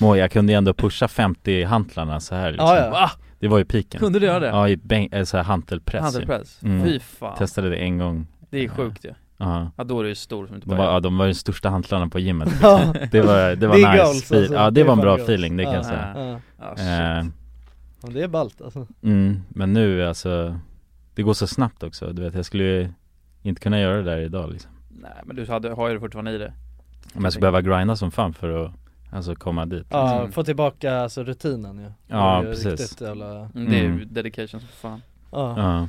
Må, jag kunde ju ändå pusha 50 hantlarna så här liksom.
Ja, ja.
Va?
Det var ju piken
Kunde du göra det?
Ja i bänk, äh, så här hantelpress ju.
Handelpress?
Mm.
Fy fan
Testade det en gång
Det är sjukt ju
Ja
Ja då är du ju stor som inte
de
bara
var, ja, de var de största hantlarna på gymmet
Ja,
Det var, det var
Det är
nice
goals,
Fi-
alltså.
Ja
Det
det
är
var en
fan
bra
goals.
feeling, det kan
Ja.
jag säga
ja,
Ja, Ah, shit.
eh,
men det är ballt alltså
mm, Men nu alltså Det går så snabbt också, du vet jag skulle ju inte kunna göra det där idag liksom
Nej men du hade, har ju det fortfarande i dig
Om jag skulle behöva grinda som fan för att Alltså komma dit
Ja,
Mm.
få tillbaka alltså rutinen ju
Ja,
Det är ju
precis.
riktigt jävla,
Mm, Det är ju
Mm.
dedication som fan
ja,
Ja,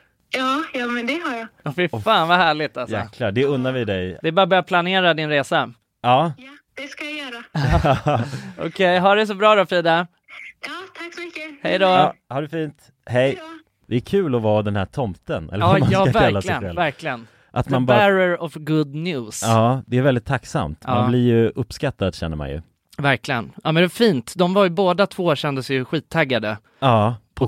Ja, ja, men det har jag.
Åh, Fy fan vad härligt alltså.
Jäklar, det unnar vi dig.
Det är bara att börja planera din resa.
Ja,
Det ska jag göra.
Okej, ha det så bra då Frida.
Ja, tack så mycket.
Hej då.
ja ha det fint. Hej. Det är kul att vara den här tomten, eller
Ja,
vad man
ja
ska kalla sig
verkligen,
själv.
verkligen.
Att
The
man bara-
bearer of good news.
Ja, det är väldigt tacksamt. Man
Ja.
blir ju uppskattad känner man ju.
Verkligen. Ja men det är fint. De var ju båda två kändes ju skittaggade
Ja,
på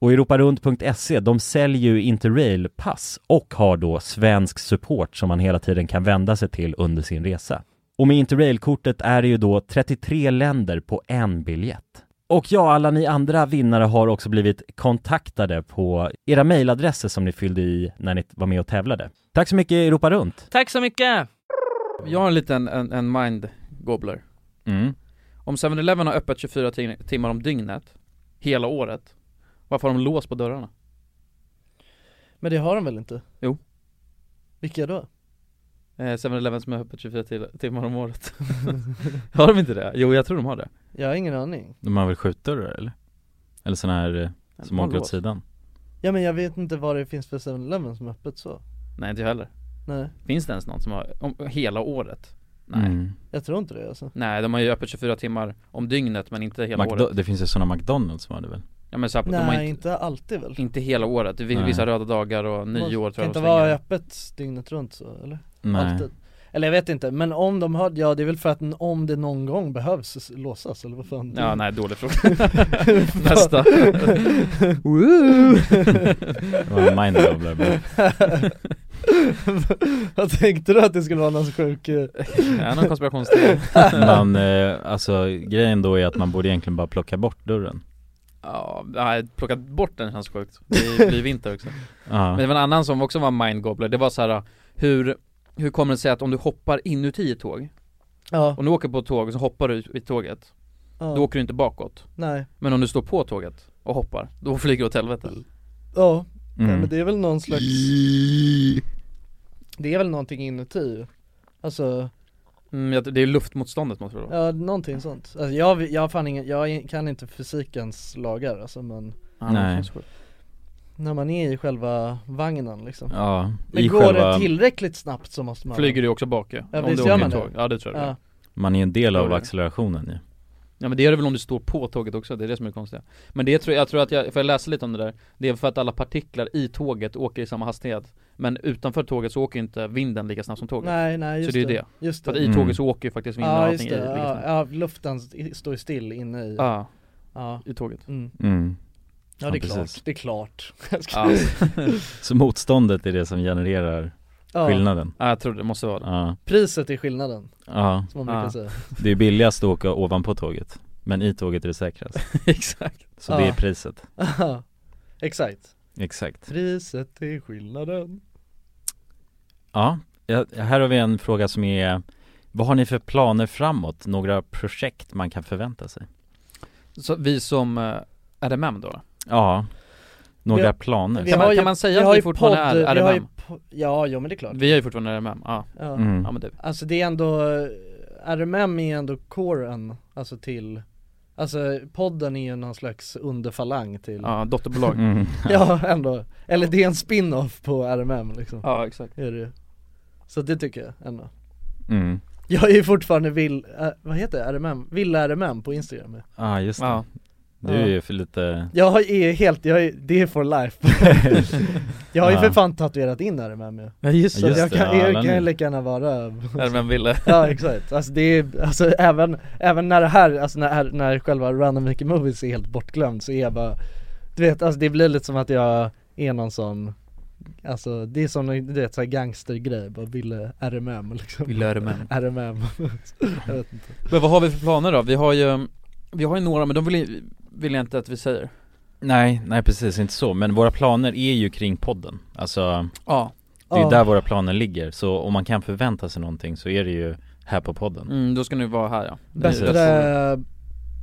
Och europarunt.se, E, de säljer ju Interrail-pass och har då svensk support som man hela tiden kan vända sig till under sin resa. Och med Interrail-kortet är det ju då 33 länder på en biljett. Och ja, alla ni andra vinnare har också blivit kontaktade på era mejladresser som ni fyllde i när ni var med och tävlade. Tack så mycket Europa Runt!
Tack så mycket!
Jag har en liten en, en mind gobbler
Mm.
Om 7-Eleven har öppet 24 tim- timmar om dygnet Hela året Varför har de lås på dörrarna?
Men det har de väl inte?
Jo.
Vilka då?
Eh, 7-Eleven som är öppet 24 till- timmar om året Har de inte det? Jo jag tror de har det
Jag har ingen aning.
De har väl skjutdörrar eller? Eller sådana här eh, som
har
åker åt
lås.
sidan?
Ja men jag vet inte vad det finns för 7-Eleven som är öppet så.
Nej inte jag heller
Nej.
Finns det ens någon som har, om, hela året? Nej
Mm.
Mm.
Jag tror inte det alltså.
Nej de har ju öppet 24 timmar om dygnet men inte hela
McDo-
året
det finns ju sådana McDonalds som hade väl?
Ja men så här, de har
Nej,
inte,
inte alltid väl?
inte hela året, det finns
Nej.
vissa röda dagar och
Man
nyår tror
Kan
jag
inte
de
vara
stänger
öppet dygnet runt så eller?
Nej.
Alltid. Eller jag vet inte, men om de har, ja det är väl för att n- om det någon gång behövs s- låsas eller vad fan
Ja, nej, dålig fråga. Nästa.
Woo!
Det var en mindblowler bara.
Vad tänkte du att det skulle vara någon sjuk... eh,
Ja, någon konspirationsteori.
Man, eh, alltså grejen då är att man borde egentligen bara plocka bort dörren
Ja, nej, plockat bort den känns sjukt. Det blir vinter också.
Ja.
Men det var en annan som också var mindgobbler, det var så här hur, hur kommer det sig att om du hoppar inuti ett tåg,
Ja.
om du åker på ett tåg och så hoppar du i tåget,
Ja.
då åker du inte bakåt.
Nej.
Men om du står på tåget och hoppar, då flyger du åt helvete.
Ja,
Mm.
nej, men det är väl någon slags Det är väl någonting inuti Alltså,
Mm, jag- det är luftmotståndet måste det vara.
ja någonting sånt alltså, jag, jag, har fan ingen, jag kan inte fysikens lagar alltså men
Ja, det
Nej.
känns sjukt.
När man är i själva vagnen liksom
Ja,
Men
i
går
själva-
det tillräckligt snabbt så måste man
Flyger du också bak ju?
Ja
Om
visst
du
gör
åker
man det
tåg. Ja, det tror jag det
ja.
Man är en del
Då är
av
det.
accelerationen ju
Ja men det gör det väl om du står på tåget också, det är det som är konstigt Men det tror jag, jag tror att jag, för jag läste lite om det där Det är för att alla partiklar i tåget åker i samma hastighet Men utanför tåget så åker ju inte vinden lika snabbt som tåget
Nej nej just
Så det är ju det,
Just
för
det.
att i tåget så åker ju faktiskt vinden och
ja,
allting
just
i
det.
lika
Ja,
snabbt
ja, luften st- står ju still inne i
liksom- Ja.
ja.
i tåget
mm.
Mm.
Ja det är
Ja, precis.
klart, det är klart
Ja.
Så motståndet är det som genererar
Ja.
skillnaden
Ja jag tror det måste vara det
Ja,
Priset är skillnaden,
ja.
som man brukar säga
Det är billigast att åka ovanpå tåget Men i tåget är det säkrast
Exakt
Så det är
Ja.
priset,
Ja, Exakt
exakt
Priset är skillnaden
Ja, ja, här har vi en fråga som är Vad har ni för planer framåt? Några projekt man kan förvänta sig?
Så vi som eh, RMM då?
Ja, några
Vi har-
planer
vi Kan man- kan man säga att vi fortfarande är
vi har ju
RMM?
po- Ja, jo men det är klart
Vi är ju fortfarande RMM, ja
ja.
Mm.
Ja men det
Alltså det är ändå, eh, RMM är ändå coren, alltså till Alltså podden är ju någon slags underfalang till
Ja, dotterbolag.
Mm.
Ja ändå, eller det är en spin-off på RMM liksom
Ja exakt
är det. ju. Så det tycker jag ändå
Mm.
Jag är ju fortfarande vill, eh, vad heter det? RMM? Villa RMM på instagram ja.
Ja, ah, just det
Ja.
Du är ju för lite
Jag är helt, jag är, det är for life Jag har ju
Ja.
för fan tatuerat in RMM ju
Ja, just
Så
det.
jag
Just det,
kan,
ja,
jag
alla
kan
ni.
ju lika gärna vara
RMM ville
Ja exakt, alltså det är, alltså även, även när det här, alltså när, när själva Random Mickey Movies är helt bortglömd så är jag bara Du vet, alltså det blir lite som att jag är någon sån Alltså det är som du vet såhär gangstergrej, bara ville RMM liksom
Ville RMM.
RMM Jag vet inte
Men vad har vi för planer då? Vi har ju, vi har ju några men de vill, ju- vill jag inte att vi säger
Nej, nej precis, inte så. Men våra planer är ju kring podden. Alltså,
Ja.
det är ju
Ja.
där våra planer ligger. Så om man kan förvänta sig någonting så är det ju här på podden.
Mm, då ska ni vara här ja
Bättre,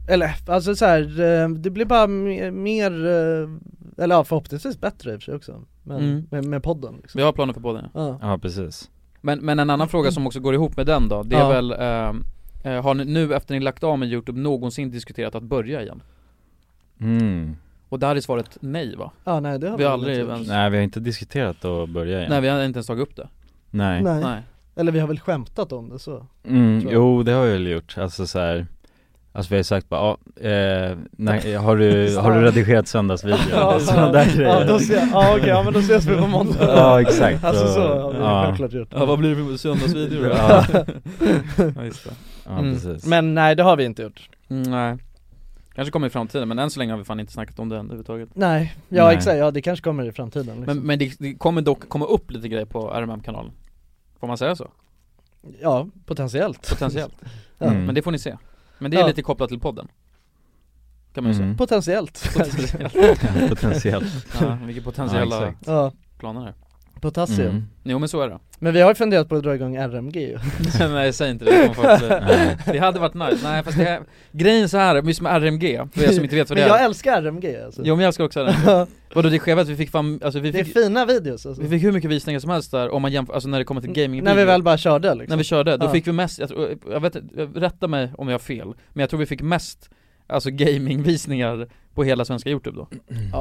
eller alltså såhär, eh, det blir bara me- mer, eh, eller ja förhoppningsvis bättre i och för sig också Men
Mm.
med, med podden liksom.
Vi har planer för podden
Ja.
Ja, precis.
Men, men en annan fråga som också går ihop med den då, det är
Ja.
väl ehm, eh, Har ni nu efter ni lagt av med Youtube någonsin diskuterat att börja igen?
Mm.
Och där är svaret nej va?
Ja, nej, det har
vi
vi
har aldrig
inte
ens, nej.
Nej, vi har inte diskuterat att börja igen.
vi har inte ens tagit upp det
Nej.
Nej. Eller vi har väl skämtat om det så
Mm,
tror jag.
jo, det har vi väl gjort. Alltså så här. Alltså vi har ju sagt bara, ja, eh, nej, har, du, har du redigerat söndagsvideon?
Ja,
Och sådana
ja,
där grejer.
då ser jag- ja, okej, ja, men då ses vi på måndag.
Ja, exakt.
Alltså, så har
Och-
vi självklart gjort.
Ja vad blir det för söndagsvideo då?
Ja.
ja just det
Ja, precis.
Mm. Men nej det har vi inte gjort
Mm, nej Kanske kommer i framtiden men än så länge har vi fan inte snackat om det än överhuvudtaget
Nej, ja exakt, ja det kanske kommer i framtiden liksom.
Men, men det, det kommer dock komma upp lite grejer på RMM-kanalen Får man säga så?
Ja, potentiellt
Potentiellt
ja.
Mm. Men det får ni se Men det är
Ja.
lite kopplat till podden Kan man ju
Mm.
säga
Potentiellt
Potentiellt
Potentiellt.
Ja, vilka
Ja,
potentiella
exakt.
Ja.
planer här
Potassium
Mm.
Jo men så är det
Men vi har ju funderat på att dra igång RMG ju
Nej säg inte det, det, kommer folk
Eh,
bli- det hade varit nice, nej fast det här, grejen så här, just med RMG, för er som inte vet vad det
Men jag
är
älskar RMG alltså
Jo men jag älskar också RMG Vadå det är skevat, vi fick fan, alltså vi
Det är
fick,
fina videos alltså
vi fick hur mycket visningar som helst där om man jämför, alltså när det kommer till gaming
När vi väl bara körde liksom
När vi körde, då
Ja.
fick vi mest, jag, tror- jag vet inte, rätta mig om jag har fel, men jag tror vi fick mest, alltså gamingvisningar på hela svenska youtube då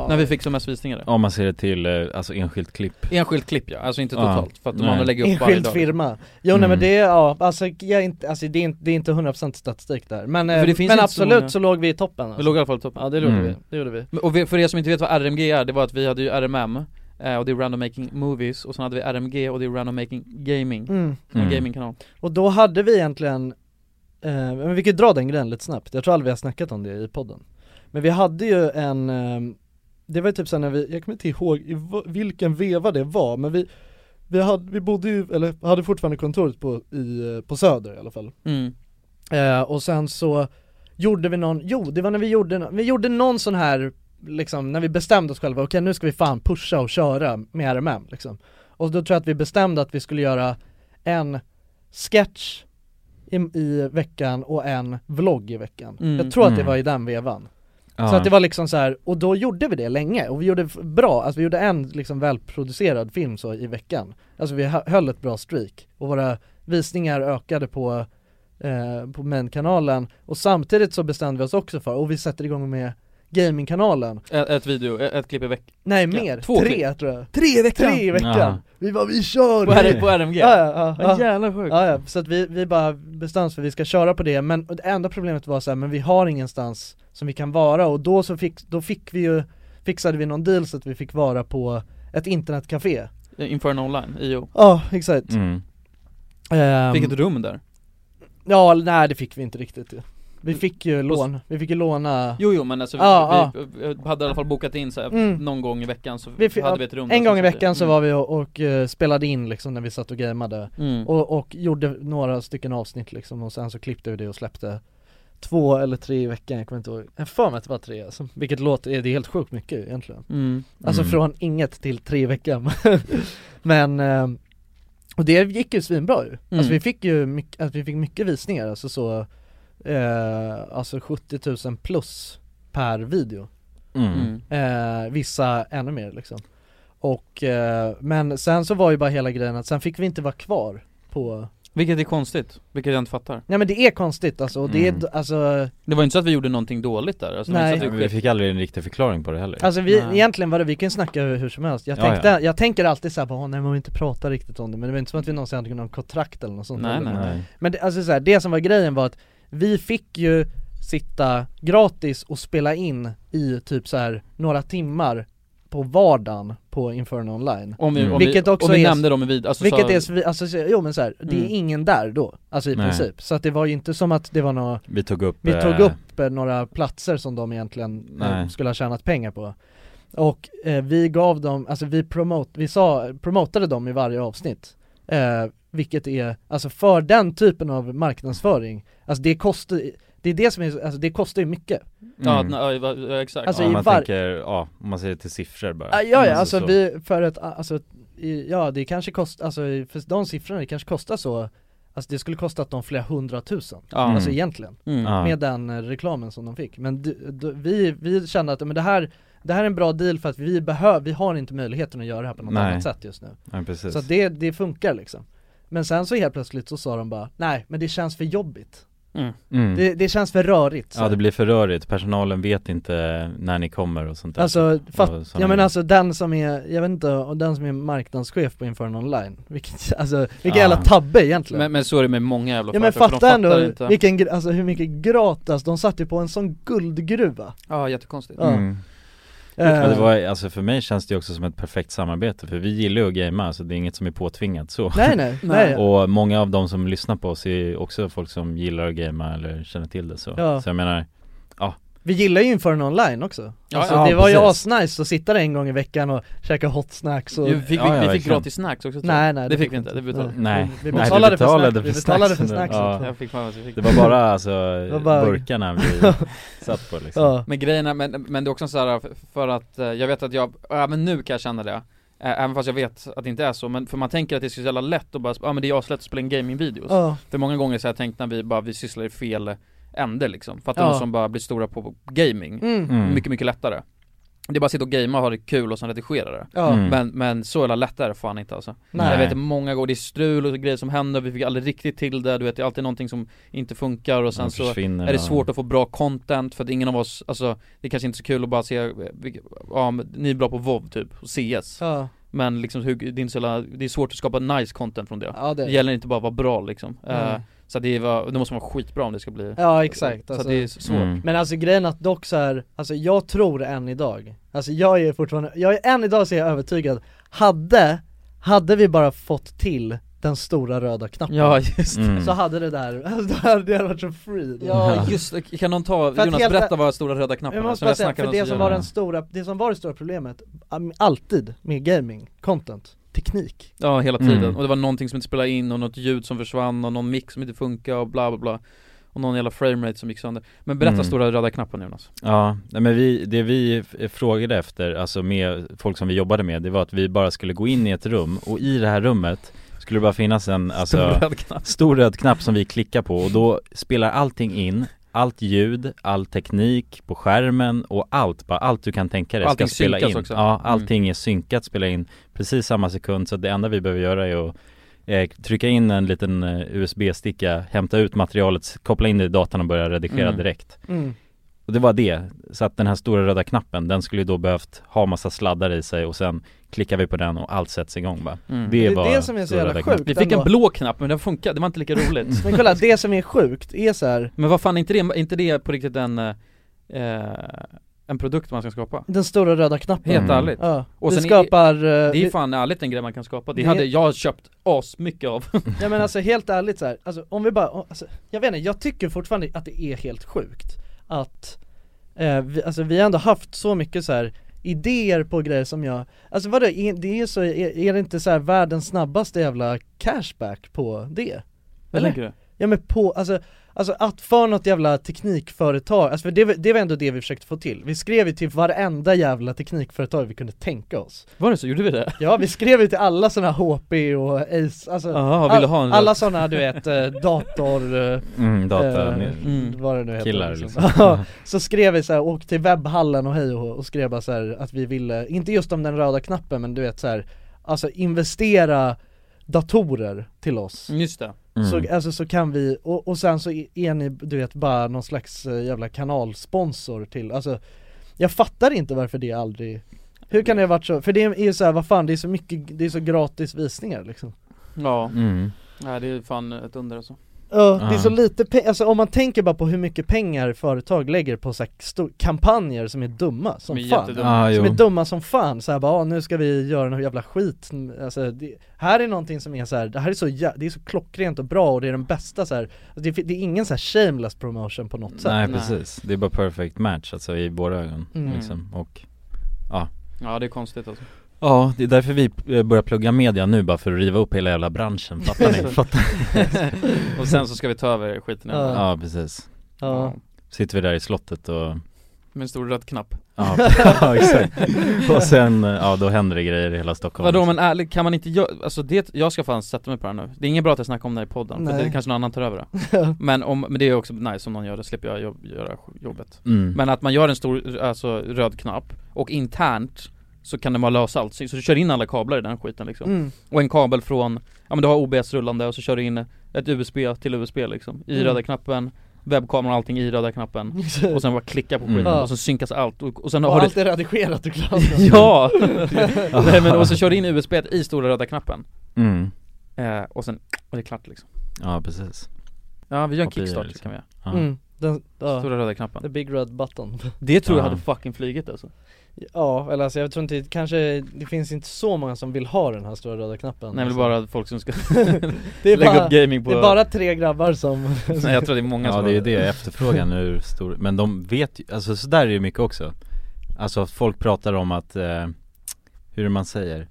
När vi fick som mest visningar
Om man ser det till, eh, alltså enskilt klipp.
Enskilt klipp ja, alltså inte
Ja.
totalt, för att de
Nej.
andra lägger upp varje
Enskild
dag Mm.
firma Jo nej men det, är- ja, alltså, jag är inte, alltså det är inte, det är inte 100% statistik där Men, eh,
För det finns
men
inte så
absolut
många-
så låg vi i toppen alltså.
Vi låg i alla fall i toppen
Ja det gjorde
Mm.
vi, det gjorde vi
Men- Och vi- för er som inte vet vad RMG är, det var att vi hade ju RMM eh, och det är Random Making Movies och sen hade vi RMG och det är Random Making Gaming,
Mm.
en
Mm.
gamingkanal
Och då hade vi egentligen, eh, men vi kan ju dra den grejen lite snabbt, jag tror aldrig vi har snackat om det i podden Men vi hade ju en, eh, det var ju typ såhär när vi, jag kommer inte ihåg i v- vilken veva det var men vi vi, hade, vi bodde ju, eller hade fortfarande kontoret på, i, eh, på Söder i alla fall
Mm.
eh, Och sen så gjorde vi någon, jo det var när vi gjorde, nå- vi gjorde någon sån här liksom, när vi bestämde oss själva, okej nu ska vi fan pusha och köra med RMM liksom Och då tror jag att vi bestämde att vi skulle göra en sketch i, i veckan och en vlogg i veckan
Mm.
Jag tror att det
Mm.
var i den vevan
Ja.
Så att det var liksom så här, och då gjorde vi det länge, och vi gjorde f- bra, alltså vi gjorde en liksom välproducerad film så i veckan Alltså vi hö- höll ett bra streak, och våra visningar ökade på, eh, på main-kanalen Och samtidigt så bestämde vi oss också för, och vi sätter igång med gaming-kanalen
Ett, ett video, ett, ett klipp i veckan
Nej mer,
Två
tre
klipp.
tror jag
Tre i veckan?
Tre i veckan!
Ja.
Vi bara vi kör!
På R- på RMG?
Ja, ja, ja,
Vad
ja.
jävla sjukt.
ja, ja. så att vi, vi bara bestämde oss för att vi ska köra på det, men det enda problemet var så här, men vi har ingenstans som vi kan vara och då så fick, då fick vi ju, fixade vi någon deal så att vi fick vara på ett internetcafé
Inferno online, IO
Ja, exakt
Mm.
Ehm,
Fick ett rum där?
Ja, nej det fick vi inte riktigt ju. Vi fick ju
Och s-
lån, vi fick ju låna
Jo jo men alltså vi,
Ja,
vi, vi hade i alla fall bokat in så här,
Mm.
någon gång i veckan så
Vi fi-
hade vi ett rum där
En
som
gång i
satt
veckan så
Mm.
var vi och, och eh, spelade in liksom när vi satt och gameade
Mm.
och, och gjorde några stycken avsnitt liksom och sen så klippte vi det och släppte två eller tre i veckan, jag kommer inte ihåg Jag har för mig att det var tre alltså, vilket låter, det är helt sjukt mycket egentligen
Mm.
Alltså
Mm.
från inget till tre i veckan Men, eh, och det gick ju svinbra ju Alltså
Mm.
vi fick ju mycket, alltså, vi fick mycket visningar, alltså så eh, Alltså 70 000 plus per video
Mm.
eh, Vissa ännu mer liksom Och, eh, men sen så var ju bara hela grejen att sen fick vi inte vara kvar på
Vilket är konstigt, vilket jag inte fattar
Nej men det är konstigt alltså, och det är,
Mm.
d- alltså
Det var inte så att vi gjorde någonting dåligt där, alltså, det var
Nej.
inte så att
Nej,
vi,
men vi
Vi fick aldrig en riktig förklaring på det heller
Mm. Alltså vi,
Nej.
egentligen var det, vi kan ju snacka hur, hur som helst Jag,
Ja,
tänkte,
ja.
jag tänker alltid såhär bara, "Åh, nej men vi inte prata riktigt om det Men det var inte som att vi någonsin hade någon kontrakt eller något sånt
Mm. Nej,
heller.
nej, nej.
Men det, alltså så här, det som var grejen var att vi fick ju sitta gratis och spela in i typ så här några timmar på vardagen på Inferno online
Om vi- om vi-
Vilket också
om vi
är,
nämnde dem i vid- alltså
Vilket
så-
är, svi- alltså, så- jo men så här, det är
Mm.
ingen där då, alltså i
Nej.
princip Så att det var ju inte som att det var några
Vi tog upp,
Vi tog
eh,
upp eh, några platser som de egentligen eh,
Nej.
skulle ha tjänat pengar på Och eh, vi gav dem, alltså vi promote, vi sa, promotade dem i varje avsnitt eh, Vilket är, alltså för den typen av marknadsföring, alltså det kostar, det är det som är, alltså det kostar ju mycket
ja,
mm.
nej, Mm. va- ja, exakt
Alltså,
om
i
man
var-
tänker, ja, om man ser det till siffror bara
Ah, Ja, ja,
Mm.
alltså
så-
vi, för ett, alltså, i, ja det kanske kostar, alltså i- för de siffrorna, det kanske kostar så Alltså det skulle kostat dem flera hundratusen,
Ja.
alltså
Mm.
egentligen
Mm. Ja.
Med den eh, reklamen som de fick Men d- d- vi, vi kände att men det här, det här är en bra deal för att vi behöver, vi har inte möjligheten att göra det här på något
Nej.
annat sätt just nu
Nej, precis.
Så att det, det funkar liksom Men sen så helt plötsligt så sa de bara, nej men det känns för jobbigt
Mm.
Mm.
Det, det känns för rörigt så
Ja det blir för rörigt, personalen vet inte när ni kommer och sånt där
Alltså, fatt,
Och såna
ja men
grejer.
alltså den som är, jag vet inte, och den som är marknadschef på Inferno online, vilket, alltså, vilken
Ja.
jävla tabbe egentligen
men, men så är det med många jävla
Ja men
företag, för
fatta
de fattar
ändå
inte.
vilken, gr- alltså hur mycket gratis, de satt ju på en sån guldgruva
Ja jättekonstigt
Ja. Eh.
Mm. Ja, det var, alltså för mig känns det ju också som ett perfekt samarbete för vi gillar ju att gamea så det är inget som är påtvingat så
Nej, nej, nej.
Och många av de som lyssnar på oss är ju också folk som gillar att gamea eller känner till det så,
Ja.
så jag menar, ja
Vi gillar ju Inferno online också,
Ja,
alltså,
ja,
det var ju
precis.
asnice att sitta där en gång i veckan och käka hot snacks och
Jo, fick vi- Ja, ja, vi fick verkligen. gratis snacks också, tror jag.
Nej nej
Det fick vi inte, det betalade-
Nej,
Vi
nej, du
betalade,
betalade
för snacks, vi betalade för
snacksen.
snacks
Ja.
också.
Jag fick fan vad jag fick.
Det var bara alltså
Det var bara-
burkarna vi satt på liksom
Men grejen är, men, men det är också så här f- för att eh, jag vet att jag, även nu kan jag känna det Eh, Även fast jag vet att det inte är så, men för man tänker att det är så jävla lätt att bara, ja ah, men det är aslätt att spela in gamingvideos
Ja.
För många gånger så har jag tänkt när vi bara, vi sysslar i fel ände liksom Fattar
Ja.
de som bara blir stora på gaming,
Mm. Mm.
mycket mycket lättare Det är bara att sitta och gamea och ha det kul och sen redigera det
Ja. Mm.
men, men så jävla lätt är det fan inte alltså
Nej.
Jag vet många gånger, det är strul och grejer som händer, vi fick aldrig riktigt till det, du vet det är alltid någonting som inte funkar och sen
Ja,
så
försvinner
är det
och-
svårt att få bra content för att ingen av oss, alltså det är kanske inte så kul att bara se, eh, vilka- ja, men ni är bra på WoW typ, och CS
Ja.
Men liksom hur, det är, inte så jävla, det är svårt att skapa nice content från det
Ja, det är
Det
det.
gäller inte bara att vara bra liksom
Mm.
Eh, Så att det, var, det måste vara skitbra om det ska bli
Ja exakt
Så
alltså,
att det är svårt
Mm.
Men alltså grejen att dock så här, alltså jag tror än idag Alltså jag är fortfarande, jag är än idag så är jag övertygad Hade, hade vi bara fått till den stora röda knappen
Ja, just det. Mm.
Så hade det där, alltså då hade det varit så free
Ja just det. kan någon ta,
För att
Jonas
helt-
berätta vad stora röda knappen
Jag
är
måste
som
bara
jag
säga,
snackade
för
om
det
så
som var
gärna.
den stora, det som var det stora problemet, am- alltid med gaming, content, teknik
Ja hela tiden,
Mm.
och det var någonting som inte spelade in och något ljud som försvann och någon mix som inte funkade och bla bla bla Och någon jävla framerate som gick sönder Men berätta
Mm.
stora röda knappen Jonas
Ja, nej men vi, det vi f- frågade efter, alltså med folk som vi jobbade med, det var att vi bara skulle gå in i ett rum och i det här rummet skulle det bara finnas en, alltså,
Stor röd knapp.
stor röd knapp som vi klickar på och då spelar allting in, allt ljud, all teknik på skärmen och allt, bara allt du kan tänka dig
Allting
ska spela
synkas
in.
också. Mm.
Ja, allting är synkat, spelar in precis samma sekund så det enda vi behöver göra är att eh, trycka in en liten eh, USB-sticka, hämta ut materialet, koppla in det i datorn och börja redigera
Mm.
direkt.
Mm.
Och det var det. Så att den här stora röda knappen, den skulle ju då behövt ha massa sladdar i sig och sen klickar vi på den och allt sätts igång bara.
Mm.
Det är det som är så
stora
jävla
röda
sjukt.
knappen.
Vi fick en
ändå.
blå knapp men den funkade, det var inte lika roligt
Men kolla, det som är sjukt är så här,
Men vad fan, är inte det, är inte det på riktigt en, eh, en produkt man ska skapa?
den stora röda knappen
Helt ärligt
Ja,
Och
vi
sen är-
skapar... eh,
Det är fan ärligt en grej man kan skapa, det,
Det-
hade jag köpt asmycket av
Ja men alltså helt ärligt så här, alltså om vi bara, alltså, jag vet inte, jag tycker fortfarande att det är helt sjukt att eh, vi, alltså, vi har ändå haft så mycket så här idéer på grejer som jag, alltså vadå, är, det är så, är, är det inte så här världens snabbaste jävla cashback på det? Eller?
du?
Ja men på, alltså, alltså att för något jävla teknikföretag, alltså för det, var- det var ändå det vi försökte få till. Vi skrev ju till varenda jävla teknikföretag vi kunde tänka oss.
Var det så? Gjorde vi det?
Ja vi skrev ju till alla sådana här HP och Ace, alltså
Jaha, vill du ha en
alla
röd?
sådana du vet eh, dator... eh,
Mm, data-
eh,
Mm.
Vad det nu heter
Killar, liksom.
Ja, Så skrev vi så här, åk till webbhallen och hej och, och skrev bara så här att vi ville, inte just om den röda knappen men du vet så här, alltså investera datorer till oss
Just det
Mm.
så, alltså, så kan vi, och, och sen så är ni du vet bara någon slags eh, jävla kanalsponsor till, alltså Jag fattar inte varför det aldrig Hur kan det ha varit så? För det är ju såhär, vad fan det är så mycket, det är så gratis visningar liksom
Ja,
Mm.
nej det är fan ett under alltså
Ja, det är så
Ja.
lite pe- alltså om man tänker bara på hur mycket pengar företag lägger på så här stor- kampanjer som är dumma som
Som är
fan
jättedumma.
Ah,
Som
jo.
är dumma som fan, såhär bara "Ah, nu ska vi göra någon jävla skit alltså, det, Här är någonting som är såhär, det här är så, jä- det är så klockrent och bra och det är den bästa såhär alltså, det, fi- det är ingen såhär shameless promotion på något sätt
Nej
Nej.
precis, det är bara perfect match alltså i våra ögon
Mm.
liksom och
Ja det är konstigt alltså
Ja, det är därför vi eh, börjar plugga media nu bara för att riva upp hela jävla branschen, fattar ni? fattar
Alltså, Och sen så ska vi ta över skiten igen.
Ja.
Ja precis,
Ja,
sitter vi där i slottet och
Med en stor röd knapp
Ja, ja exakt. Och sen, eh, ja då händer det grejer i hela Stockholm
Vadå men ärligt, kan man inte göra, alltså det, jag ska fan sätta mig på det här nu Det är inget bra att jag snackar om det här i podden, för
Nej.
det kanske någon annan tar över det Men om, men det är också nice om någon gör det, slipper jag jobb, göra jobbet
mm.
Men att man gör en stor, alltså röd knapp, och internt så kan de bara lösa allt, så så du kör in alla kablar i den skiten liksom
mm.
Och en kabel från, ja men du har OBS rullande och så kör du in ett USB till USB liksom I
Mm.
röda knappen, webbkameran och allting i röda knappen Och sen bara klicka på skiten
Mm.
och så synkas allt och, och sen
och
har du
allt är redigerat och klart
Ja! Nej men och så kör du in USB i stora röda knappen
Mm.
eh, Och sen och det är klart liksom
Ja precis
Ja vi gör en
Kopior,
kickstart
liksom.
kan vi göra,
ja.
mm. den, ja,
stora röda knappen
the big red button
Det tror jag
Ja.
hade fucking flugit alltså
Ja, eller alltså jag tror inte, kanske, det finns inte så många som vill ha den här stora röda knappen
Nej men det är
Alltså,
bara folk som ska
det är
lägga
bara,
upp gaming på Mm.
det är bara tre grabbar som
Nej jag tror det är många
Ja
som
det är ju det, efterfrågan är ju stor, men de vet ju, alltså så där är ju mycket också Alltså folk pratar om att, eh, hur man säger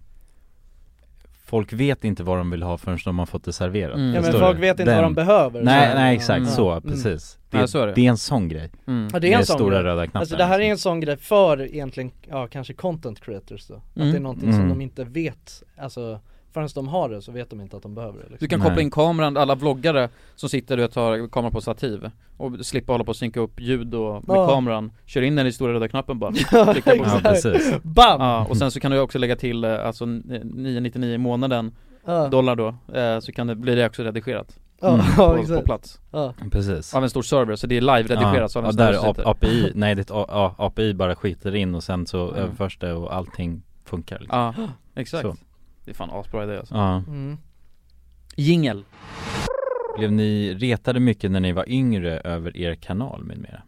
Folk vet inte vad de vill ha förrän de har fått det serverat
Mm.
Ja men
Förstår
folk
du?
vet inte
Den-
vad de behöver
Nej
Så-
nej exakt,
Ja.
så
Mm.
precis det,
Ja, så är det.
det är en sån grej,
mm.
Ja det är en
Med
sån
stora
grej.
röda liksom. knappen
Alltså det här är en sån grej för egentligen, ja kanske content creators då Att
Mm.
det är någonting som
Mm.
de inte vet, alltså förrän de har det så vet de inte att de behöver det
Du
liksom.
kan
Nej.
koppla in kameran, alla vloggare som sitter och tar kameran på stativ Och slippa hålla på och synka upp ljud och med
Ja.
kameran Kör in den i stora röda knappen bara Klicka på
Ja
den.
exakt.
precis,
BAM!
Ja, och sen så kan du också lägga till eh, alltså n- 999 i månaden
Ja,
dollar då eh, Så kan det, blir det också redigerat
ja,
Mm.
ja,
på, på
exakt.
plats
ja.
precis
Av en stor server, så det är live-redigerat så
ja,
av
ja,
en stor
där
server
A-
sitter.
API, nej det är ett A- A- API bara skiter in och sen så
Mm.
överförs det och allting funkar liksom.
Ja, exakt
Så.
Det är fan asbra idé alltså
Ja,
Mm.
Jingel
Blev ni retade mycket när ni var yngre över er kanal med mera?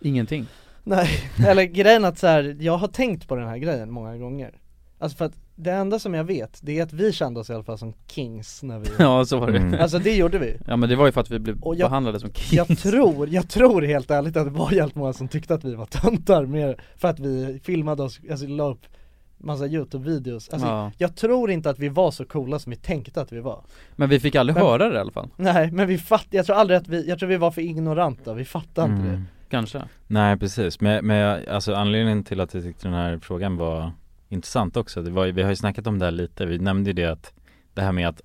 Ingenting
Nej, eller grejen att så här, jag har tänkt på den här grejen många gånger Alltså för att det enda som jag vet, det är att vi kände oss i alla fall som kings när vi
Ja så var det
Mm. Alltså, det gjorde vi.
Ja men det var ju för att vi blev
Och jag-
behandlade som kings
Jag tror, jag tror helt ärligt att det var jävligt många som tyckte att vi var töntar mer för att vi filmade oss, alltså la upp massa youtube-videos Alltså
Ja.
jag tror inte att vi var så coola som vi tänkte att vi var
Men vi fick aldrig
Men-
höra det i alla fall
Nej men vi fattade, jag tror aldrig att vi, jag tror vi var för ignoranta, vi fattade inte
Mm.
det
Kanske
Nej precis, men, men jag- alltså anledningen till att jag tyckte den här frågan var intressant också det var, ju- Vi har ju snackat om det här lite, vi nämnde ju det att Det här med att,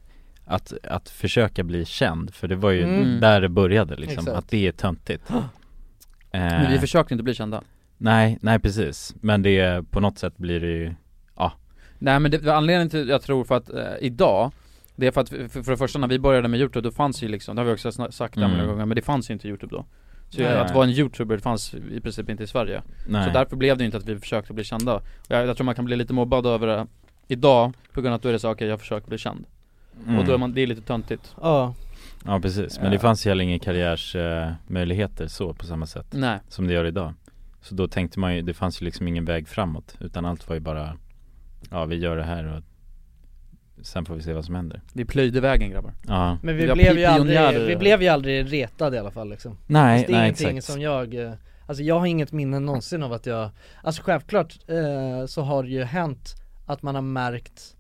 att, att försöka bli känd, för det var ju
Mm.
där det började liksom,
Exakt.
att det är töntigt
Men
Eh,
Men vi försökte inte bli kända
Nej, nej precis, men det, på något sätt blir det ju, ja
Nej men det, anledningen till, jag tror för att eh, idag Det är för att, för, för det första när vi började med youtube då fanns ju liksom, det har vi också sna- sagt där
Mm.
många gånger, men det fanns ju inte youtube då Så
Nej.
att vara en youtuber fanns i princip inte i Sverige
Nej.
Så därför blev det inte att vi försökte bli kända Och jag, jag tror man kan bli lite mobbad över det idag På grund av att då är det så, okej jag försöker bli känd
Mm.
Och då är man, Eh. det är lite töntigt
Ja
Ja precis, men det fanns ju heller inga karriärsmöjligheter så på samma sätt
Nej.
som det gör idag Så då tänkte man ju, det fanns ju liksom ingen väg framåt utan allt var ju bara Ja vi gör det här och sen får vi se vad som händer
Vi plöjde vägen grabbar
Ja
Men vi
Vi var
blev, ju
pi-
aldrig,
pionjärer.
vi blev ju aldrig retade i alla fall liksom
Nej,
alltså, det är
nej,
ingenting
exakt.
som jag, eh, alltså jag har inget minne någonsin av att jag Alltså självklart eh, så har det ju hänt att man har märkt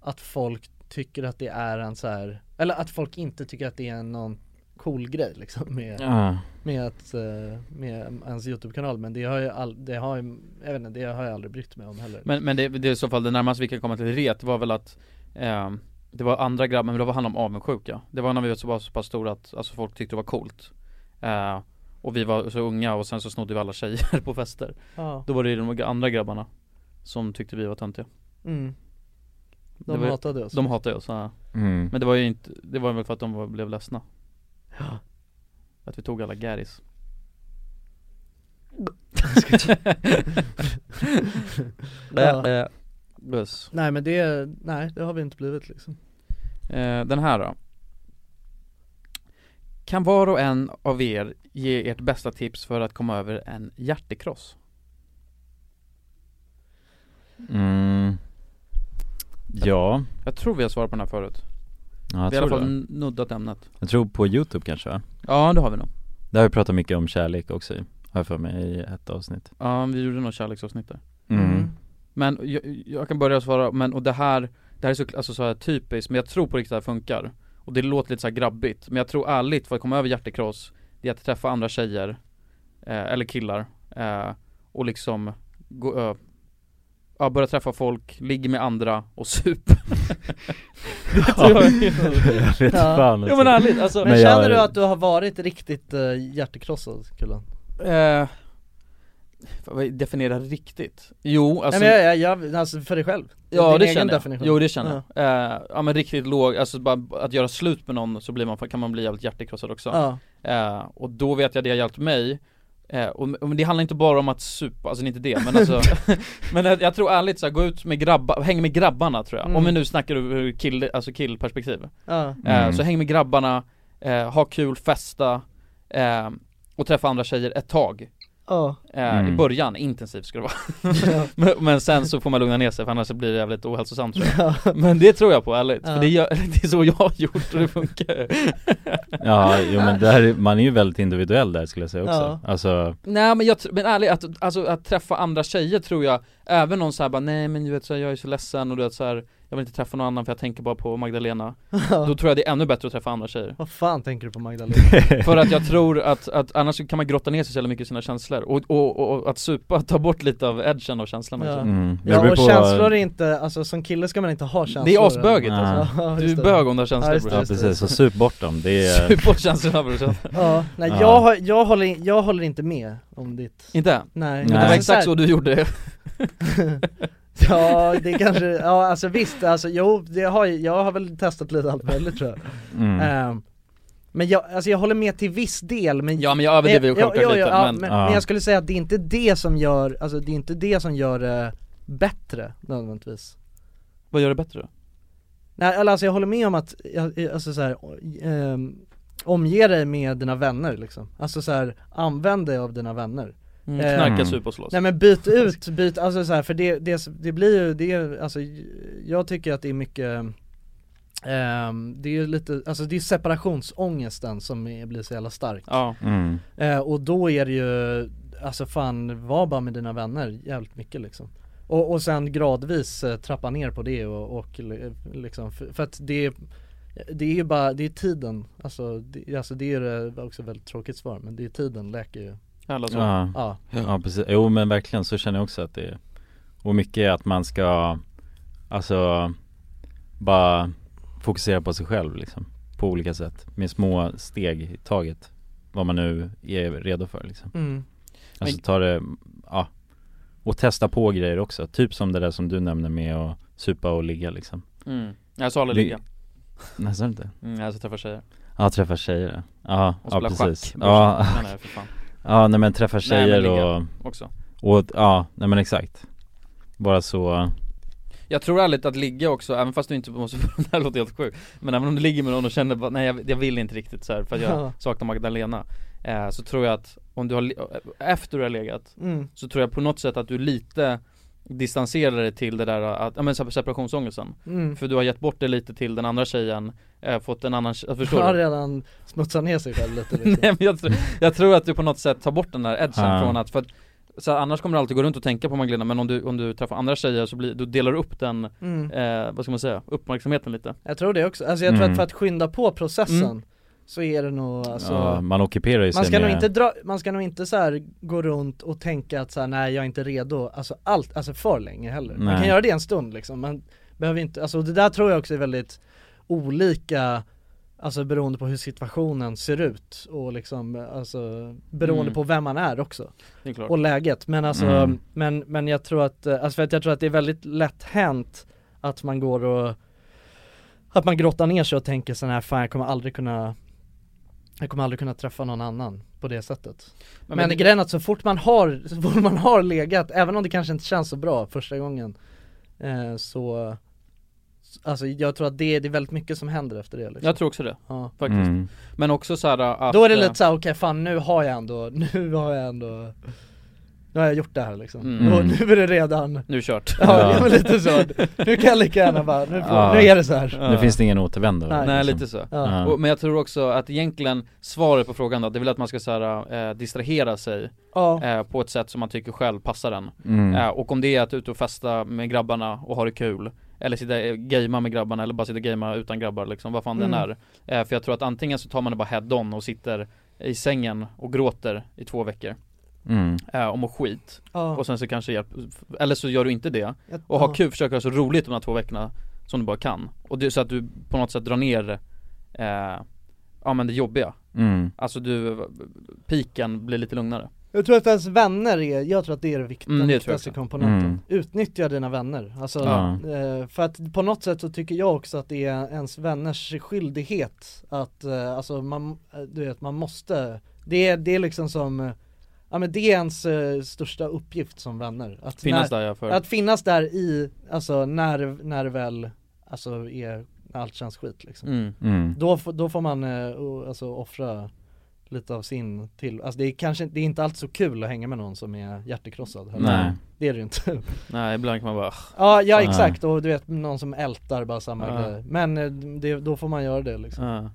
att folk tycker att det är en så här Eller att folk inte tycker att det är någon cool grej liksom med,
Ja.
med, att, eh, med ens YouTube-kanal Men det har ju, all, det har ju, jag vet inte, det har jag aldrig brytt mig om heller
Men, men det, det är i så fall det närmaste vi kan komma till ret var väl att ehm, Det var andra grabbar, men det var han om avundsjuka Det var när vi var så, var så pass stora att alltså, folk tyckte det var coolt Eh, Och vi var så unga och sen så snodde vi alla tjejer på fester
Ja.
Då var det ju de andra grabbarna Som tyckte vi var töntiga
Mm. De
Det var ju-
hatade oss.
De hatade oss, ja.
Mm.
Men det var ju inte, det var väl för att de var, blev ledsna Att vi tog alla gäris Eh,
Ja.
Buss
Nej men det, nej det har vi inte blivit liksom
Eh, Den här då. Kan var och en av er ge ert bästa tips för att komma över en hjärtekross?
mm. Ja,
Jag tror vi har svarat på den här förut.
Ja, jag
vi har i
tror
alla fall
det.
n- nuddat ämnet.
jag tror på youtube kanske va?
Ja, det har vi nog.
Där har vi pratat mycket om kärlek också i, har jag för mig i ett avsnitt
Ja, vi gjorde något kärleksavsnitt där.
Mm.
Men jag, jag kan börja svara, men och det här, det här är så, alltså så här typiskt, men jag tror på riktigt att det här funkar. Och det låter lite så här grabbigt, men jag tror ärligt för att komma över hjärtekross, det är att träffa andra tjejer, eh, eller killar, eh, och liksom gå, ö, ja, börja träffa folk, ligga med andra och sup. det tror jag är-
Jag vet fan
Ja men ärligt, alltså,
Men känner du att du har varit riktigt eh, hjärtekrossad Kulan?
Eh, vad- definiera riktigt? Jo, alltså
Nej men jag, jag, jag, alltså för dig själv
Ja
Din
det
egen
känner jag,
definition.
jo det känner jag eh, Ja men riktigt låg, alltså bara att göra slut med någon så blir man, kan man bli jävligt hjärtekrossad också eh, Och då vet jag det har hjälpt mig eh, och, och det handlar inte bara om att supa, alltså det är inte det men alltså Men jag, jag tror ärligt så här, gå ut med grabbar, häng med grabbarna tror jag
Mm.
Om vi nu snackar ur ur kill, alltså killperspektiv
Ja.
eh,
Mm.
Så häng med grabbarna, eh, ha kul, festa eh, Och träffa andra tjejer ett tag
Ja.
Eh, I
Mm.
början, intensivt ska det vara men, men sen så får man lugna ner sig för annars så blir det jävligt ohälsosamt tror jag Men det tror jag på ärligt,
Ja.
för det, gör, det är så jag har gjort och det funkar
Ja, jo, men det här, är- man är ju väldigt individuell där skulle jag säga också
Ja.
Alltså,
Nej men jag, tr- men ärligt, att, alltså, att träffa andra tjejer tror jag, även någon såhär bara nej men du vet så här, jag är så ledsen och du vet så här, jag vill inte träffa någon annan för jag tänker bara på Magdalena Då tror jag det är ännu bättre att träffa andra tjejer
Vad fan tänker du på Magdalena?
För att jag tror att, att annars så kan man grotta ner sig så jävla mycket i sina känslor och, och, och, och att supa tar bort lite av edgen av känslan
Ja,
också.
Mm.
ja och känslor är inte, alltså som kille ska man inte ha känslor
Det är asböget alltså.
Ja,
Du
just
är
det.
bög om du har känslor
Ja, just det,
bror.
just det.
precis, så sup bort dem, det är
Sup bort känslorna bror så.
Ja, nej
Ja.
jag, har- jag, håller, jag håller inte med om ditt
Inte?
Nej
Men det var
Alltså,
exakt
här-
så du gjorde.
Ja det kanske, ja alltså visst, alltså jo, det har, ju- jag har väl testat lite allt möjligt tror jag
Mm.
Ehm, Men jag, alltså jag håller med till viss del men
Ja, men jag överdriver ju
Eh, ja,
självklart
ja,
lite,
ja,
men-
men,
Ja.
men jag skulle säga att det är inte det som gör, alltså det är inte det som gör det bättre nödvändigtvis Eh,
Vad gör det bättre då?
Nej eller alltså jag håller med om att, jag- alltså så här, ehm, omge dig med dina vänner liksom Alltså så här, använd dig av dina vänner
Mm,
Eh,
knarka, sup och slåss.
Nej men byt ut, byt, alltså så här, för det, det, det blir ju, det är, alltså jag tycker att det är mycket ehm, det är ju lite, alltså det är separationsångesten som är, blir så jävla stark
Ja.
Mm.
Eh, och då är det ju, alltså fan var bara med dina vänner jävligt mycket liksom och, och sen gradvis eh, trappa ner på det och, och li- liksom, för, för att det är, det är ju bara, det är tiden, alltså det, alltså det är ju också ett väldigt tråkigt svar men det är tiden läker ju
Alla
sår
Ja.
Ja,
ja, precis. Jo men verkligen så känner jag också att det är Och mycket är att man ska Alltså Bara fokusera på sig själv liksom På olika sätt Med små steg i taget Vad man nu är redo för liksom
Mm.
Alltså
Men-
ta det, ja Och testa på grejer också Typ som det där som du nämnde med att supa och ligga liksom
Mm. Jag sa aldrig ligga.
Nej sa du inte?
Mm, alltså träffa tjejer.
Ja träffa tjejer ja,
Och
ja
spela
precis
schack,
ja.
brorsan. Nej, nej, för fan.
ja nej men träffa
Nej, men
tjejer
ligga
och
också.
och, ja nej men exakt Bara så
Jag tror ärligt att ligga också, även fast du inte måste, det här låter helt sjukt Men även om du ligger med någon och känner bara, nej jag, jag vill inte riktigt så här för att jag
Ja.
saknar Magdalena eh, Så tror jag att om du har, li- eh, efter du har legat
Mm.
Så tror jag på något sätt att du lite distanserar dig till det där att, ja men se- separationsångesten
Mm.
För du har gett bort det lite till den andra tjejen, eh, fått en annan, tje- förstår
har
du?
redan smutsat ner sig själv lite liksom.
Nej men jag, tror- jag tror att du på något sätt tar bort den där edgen
Ja.
från att, för att så här, annars kommer du alltid gå runt och tänka på Magdalena men om du, om du träffar andra tjejer så blir, då delar du upp den,
Mm.
eh, vad ska man säga, uppmärksamheten lite
Jag tror det också, alltså jag tror
Mm.
att för att skynda på processen
Mm.
så är det nog alltså
ja, Man ockuperar ju sig
man ska,
med
nog inte dra, man ska nog inte så här gå runt och tänka att så här, nej jag är inte redo, alltså allt, alltså för länge heller. Man
Nej.
kan göra det en stund liksom, man behöver inte, alltså det där tror jag också är väldigt olika Alltså beroende på hur situationen ser ut och liksom, alltså beroende
Mm.
på vem man är också
Det är klart.
Och läget, men alltså,
Mm.
men, men jag tror att, eh, alltså för att jag tror att det är väldigt lätt hänt att man går och att man grottar ner sig och tänker sån här, fan jag kommer aldrig kunna jag kommer aldrig kunna träffa någon annan på det sättet
men
Men,
det-
grejen är att så fort man har, så fort man har legat, även om det kanske inte känns så bra första gången eh, Så Alltså jag tror att det, det är väldigt mycket som händer efter det liksom.
Jag tror också det,
Ja.
faktiskt
Mm.
Men också så här att eh,
Då är det lite såhär, okej fan nu har jag ändå, nu har jag ändå Nu har jag gjort det här liksom,
Mm.
och nu är det redan
Nu är det kört.
Ja,
Ja.
men lite så, nu kan jag lika gärna bara, nu, får,
Ja.
nu är det så här.
Nu finns det ingen återvändo
Nej,
liksom.
lite så.
Ja.
Och, men jag tror också att egentligen svaret på frågan då, det är väl att man ska så här, eh, distrahera sig
Ja.
eh, på ett sätt som man tycker själv passar en.
Mm.
Eh, och om det är att ut och festa med grabbarna och ha det kul, eller sitta eh, gamea med grabbarna eller bara sitta och gamea utan grabbar liksom, vad fan den
Mm.
är. Eh, för jag tror att antingen så tar man det bara head on och sitter i sängen och gråter i två veckor
Mm.
eh, och mår skit.
Ja.
Och sen så kanske hjälp, eller så gör du inte det
Jag-
och har
ja.
kul, försöker ha så roligt de här två veckorna som du bara kan. Och det är så att du på något sätt drar ner, eh, ja men det jobbiga.
Mm.
Alltså du, piken blir lite lugnare.
Jag tror att ens vänner är, jag tror att det är det vikt-
Mm,
den
det tror jag
viktigaste
också.
komponenten
Mm.
Utnyttja dina vänner, alltså,
Ja.
eh, för att på något sätt så tycker jag också att det är ens vänners skyldighet att, eh, alltså man, eh, du vet man måste, det är, det är liksom som eh, Ja men det är ens eh, största uppgift som vänner att
Finnas
när,
där, ja, för-
Att finnas där i, alltså när, när det väl, alltså är, när allt känns skit liksom
Mm. Mm.
Då, får- då får man eh, o- alltså offra lite av sin till, alltså det är kanske det är inte alls så kul att hänga med någon som är hjärtekrossad heller.
Nej.
Det är det ju inte
Nej, ibland kan man bara "Ugh."
Ja, ja exakt och du vet någon som ältar bara samma
Ja.
grej Men eh, det, då får man göra det liksom
eh.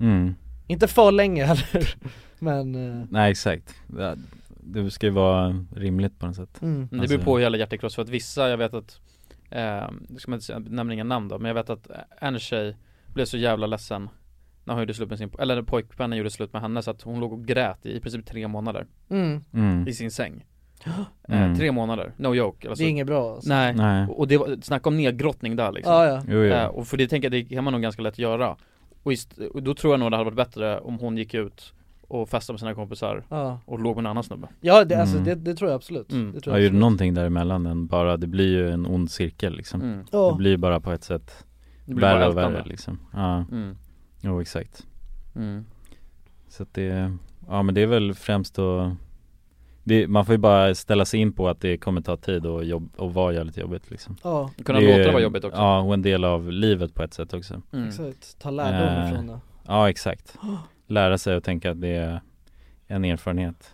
Mm.
Inte för länge heller men eh,
Nej exakt Ja, Det ska ju vara rimligt på något sätt
Mm.
Men Det
Alltså-
beror på hur jävla hjärtekross, för att vissa, jag vet att, eh, ska man inte säga, nämner inga namn då, men jag vet att en tjej blev så jävla ledsen när hon gjorde slut med sin, eller när pojkvännen gjorde slut med henne så att hon låg och grät i, i princip tre månader
Mm.
Mm.
I sin säng
Mm.
eh, Tre månader, no joke alltså.
Det är inget bra, alltså.
Nej,
Nej.
och det var, snacka om nedgrottning där liksom
Ja, ja.
Jo, jo.
Eh, Och för det tänker jag, det kan man nog ganska lätt göra och, just, och då tror jag nog det hade varit bättre om hon gick ut och festade med sina kompisar
Ja.
och låg med en annan snubbe
Ja det, alltså
Mm.
det, det tror jag absolut,
Mm.
det tror
Ja
jag
ju
absolut.
någonting däremellan än bara, det blir ju en ond cirkel liksom
Mm.
Ja.
Det blir bara på ett sätt
Det blir bara
värre och
ältande.
värre liksom Ja,
Mm.
jo exakt
Mm.
Så att det, ja men det är väl främst att
vi, man får ju bara ställa sig in på att det kommer ta tid och, jobb, och vara jävligt jobbigt liksom
Ja.
Kunna
är
låta det
ju-
vara jobbigt också.
Ja, och en del av livet på ett sätt också
Mm.
Exakt, ta lärdom
Eh,
från det
Ja, exakt Lära sig och tänka att det är en erfarenhet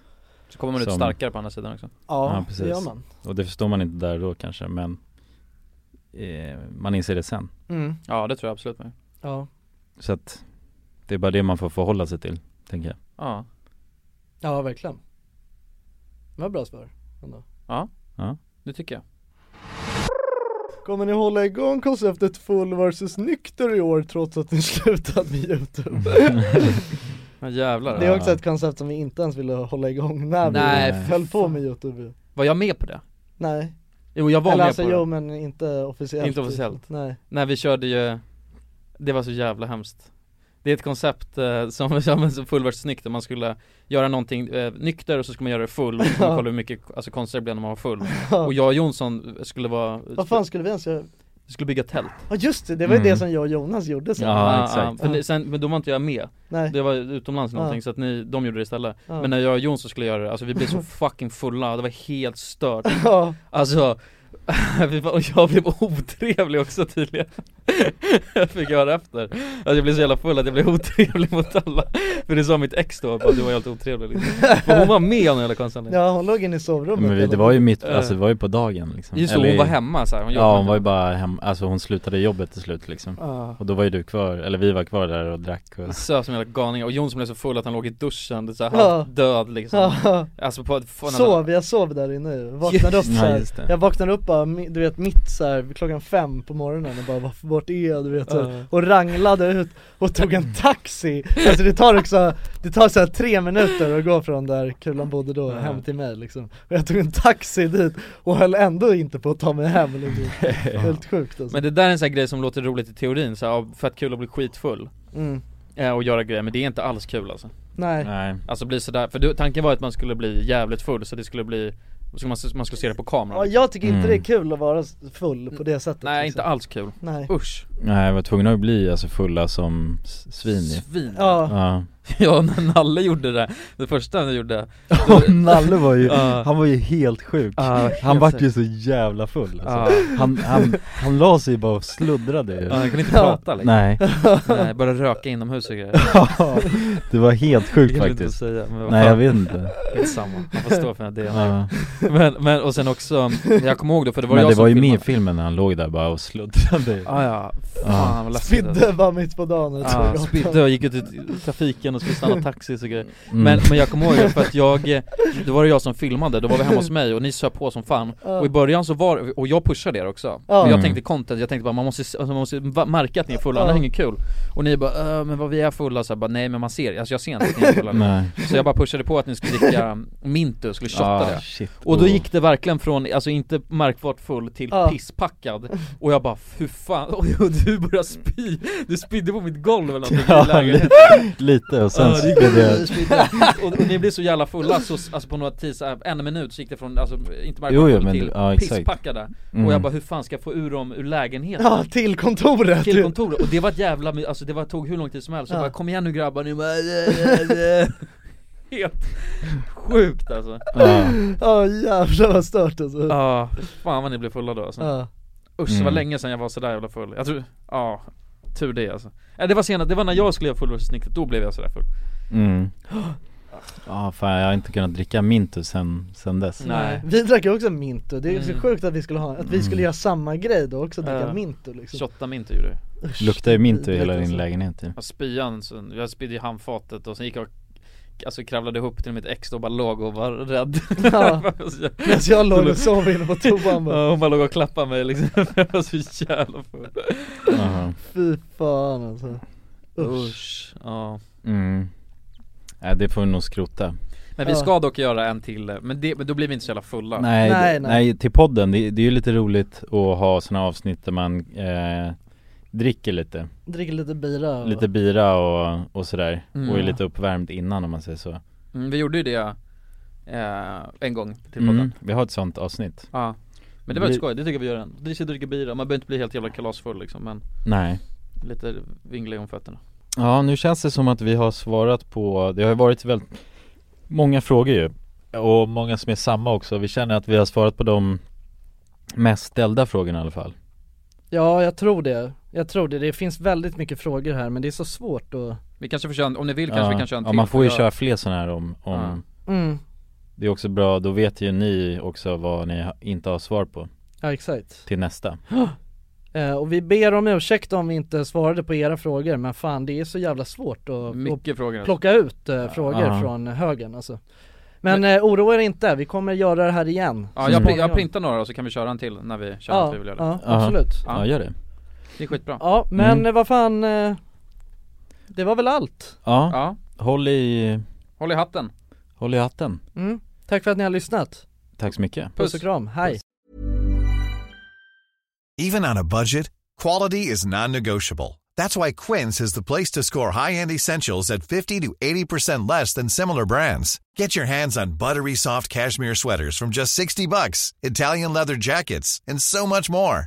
Så kommer man ut
som-
starkare på andra sidan också.
Ja, det gör man.
Och det förstår man inte där då kanske men eh, Man inser det sen
Mm.
Ja det tror jag absolut med.
Ja,
Så att Det är bara det man får förhålla sig till, tänker jag
Ja.
ja verkligen Det var bra svar ändå
Ja.
Ja.
Det tycker jag.
Kommer ni hålla igång konceptet full versus nykter i år trots att ni slutat med
Mm.
youtube?
Men jävlar.
Det är också ett koncept som vi inte ens ville hålla igång när
Nej,
vi höll på med youtube
Var jag med på det?
Nej
Jo jag var
Eller
med
alltså
på
jo
det.
men inte officiellt typ.
Inte officiellt.
Nej
Nej vi körde ju, det var så jävla hemskt. Det är ett koncept eh, som, som är så fullvärdigt snyggt där man skulle göra någonting eh, nykter och så skulle man göra det full och så skulle man kolla hur mycket alltså, konster det blev när man var full. Och jag och Jonsson eh, skulle vara,
Vad fan skulle vi ens göra?
vi skulle bygga tält.
Ja just det, det var ju
Mm.
det som jag och Jonas gjorde sen
ja, för ni- sen, men då var inte jag med.
Nej.
Det var utomlands
Ja.
någonting så att ni, de gjorde det istället.
Ja.
Men när jag och Jonsson skulle göra det, alltså vi blev så fucking fulla, det var helt stört.
Ja.
Alltså, vi var- och jag blev otrevlig också tydligen. jag fick höra efter. Alltså jag blev så jävla full att jag blev otrevlig mot alla. För det sa mitt ex då, bara, du var helt otrevlig liksom. För hon var med om hela konserten.
Ja hon låg inne i sovrummet
Men vi, det
eller?
var ju mitt,
Eh.
alltså det var ju på dagen liksom
Just det, hon var hemma så här, hon jobbade
Ja hon var ju bara hemma, alltså hon slutade jobbet till slut liksom
Ah.
Och då var ju du kvar, eller vi var kvar där och drack och
Söp som jävla galningar och Jonsson blev så full att han låg i duschen, det är så här,
Ja.
halvt död liksom.
Ja.
Alltså på, på
Sov, jag sov där inne ju. vaknade upp
Just-
såhär,
Ja, just det.
jag vaknade upp bara, mi- du vet mitt såhär klockan fem på morgonen och bara "Var- vart är jag du vet så,
Ja.
och ranglade ut och tog en taxi Alltså det tar också, det tar såhär tre minuter att gå från där Kulan bodde då
Ja.
hem till mig liksom Och jag tog en taxi dit och höll ändå inte på att ta mig hem liksom. Helt sjukt alltså
Men det där är en sån här grej som låter roligt i teorin, så här, ja, för att kul att bli skitfull
Mm.
eh, Och göra grejer, men det är inte alls kul alltså
Nej.
Nej.
Alltså bli sådär, för du, tanken var att man skulle bli jävligt full så det skulle bli, så man, man skulle se det på kameran
Ja, jag tycker inte
Mm.
det är kul att vara full på det sättet
Nej
liksom.
inte alls kul
Nej.
Usch
Nej jag var tvungen att bli alltså fulla som s- svin ju.
Svin.
Ja.
ja
Ja när Nalle gjorde det, det första han gjorde
Nalle var ju,
Ja.
han var ju helt sjuk
Ja,
Han
helt
vart
sjuk.
ju så jävla full alltså.
Ja.
han, han, han la sig bara och sluddrade ju.
Ja, han kunde inte prata liksom
Nej
Nej, började röka inomhus och grejer
Ja, det var helt
Det
sjukt
vill jag inte
faktiskt
säga, men vad
Nej
fan.
jag vet inte
Skitsamma, han får stå för det
Ja.
men, men och sen också, jag kommer ihåg då för det var
Men
jag
det
som
var ju med
filmade.
i filmen när han låg där bara och sluddrade
Ah, ja,
Ja.
fan vad läskigt
Spydde bara mitt på dagen och tog
Ja,
gatan.
spydde och gick ut i trafiken och skulle stanna taxis och grejer
Mm.
men, men jag kommer ihåg det för att jag, eh, då var det jag som filmade, då var vi hemma hos mig och ni söp på som fan
Ja.
Och i början så var, och jag pushade er också
Ja.
och
Mm.
Jag tänkte content, jag tänkte bara man måste, alltså, man måste va- märka att ni är fulla,
Ja.
annars är det inget kul Och ni bara äh, men vad vi är fulla, så jag bara nej men man ser, alltså jag ser inte att ni är fulla
Nej.
Så jag bara pushade på att ni skulle dricka Mintu, skulle shotta
Ah,
det
shit.
Och då
Oh.
gick det verkligen från, alltså inte märkbart full till
Ja.
pisspackad Och jag bara hur fan, och du började spy, du spydde på mitt golv eller någonting i
Ja,
lägenheten
lite, lite och sen
Ja, det gick-
spydde jag
spydde. och, och ni blev så jävla fulla så, s- alltså på några tis, äh, en minut så gick det från, alltså inte märkbart
Jo, jo,
full
men
till
det- ja, exakt.
pisspackade
Mm.
Och jag bara hur fan ska jag få ur dem ur lägenheten?
Ja, till kontoret!
Till kontoret, och det var ett jävla, my- alltså det var, tog hur lång tid som helst,
Ja.
jag bara kom igen nu grabbar, ni bara äh, äh, äh. Helt sjukt alltså
Ja jävlar vad stört alltså
Ja, fan vad ni blev fulla då alltså
Ja.
Usch, det var
Mm.
länge sedan jag var sådär jävla full Jag tror, ja, tur det alltså Nej det var senare, det var när jag skulle göra fullvärldssnittet, då blev jag sådär full
Mm. Ja fan jag har inte kunnat dricka Mintu sen, sen dess
Nej.
Vi drack ju också Mintu, det är ju så
Mm.
sjukt att vi skulle ha, att vi skulle
Mm.
göra samma grej då också, dricka
Ja.
Mintu liksom
Shotta Mintu gjorde jag
Luktar ju Mintu i
vidrigt
hela din
alltså.
lägenhet typ. ju.
Ja, spyan, så jag spydde i handfatet och sen gick jag och Alltså kravlade ihop till mitt ex och bara låg och var rädd Alltså,
Ja. Medan jag låg och sov inne på toan bara.
Ja, Hon bara låg och klappade mig liksom, jag var så jävla full
Jaha.
Fy fan alltså
Usch, ja
Mm. Nej det får vi nog skrota
Men vi ska dock göra en till, men, det, men då blir vi inte så jävla fulla
nej, nej, nej till podden, det, det är ju lite roligt att ha såna avsnitt där man eh, dricker lite
Dricker lite bira och...
Lite bira och, och sådär,
Mm.
och är lite uppvärmd innan om man säger så
mm, Vi gjorde ju det eh, en gång till podden
mm. Vi har ett sånt avsnitt
Ja Men det var
Bli-
ju skoj, det tycker jag vi gör än Dricka, dricka bira, man behöver inte bli helt jävla kalasfull liksom men
Nej
Lite vingla om fötterna
Ja nu känns det som att vi har svarat på, det har ju varit väldigt många frågor ju och många som är samma också. Vi känner att vi har svarat på de mest ställda frågorna i alla fall.
Ja, jag tror det. Jag tror det. Det finns väldigt mycket frågor här men det är så svårt att
Vi kanske får köra en, om ni vill kanske
ja.
vi kan köra en
ja,
till
man får ju
för jag-
köra fler sådana här om, om
Mm.
Det är också bra, då vet ju ni också vad ni ha- inte har svar på
Ja, exakt.
Till nästa
Eh, och vi ber om ursäkt om vi inte svarade på era frågor men fan det är så jävla svårt att,
Mycket
att
frågor, alltså.
plocka ut eh, frågor
Ja.
från högen alltså. Men, eh, oroa er inte, vi kommer göra det här igen
Ja, jag, prin- jag printar några så kan vi köra en till när vi känner
Ja,
att vi vill göra
ja,
det
Aha. absolut.
Ja, gör det.
Det är skitbra
Ja men eh, vad fan, eh, det var väl allt?
Ja,
Ja.
Håll, i,
Håll i hatten
håll i hatten
Mm. Tack för att ni har lyssnat,
Tack så mycket
puss och kram, hej!
Even on a budget, quality is non-negotiable. That's why Quince is the place to score high-end essentials at 50 to 80% less than similar brands. Get your hands on buttery soft cashmere sweaters from just 60 bucks, Italian leather jackets, and so much more.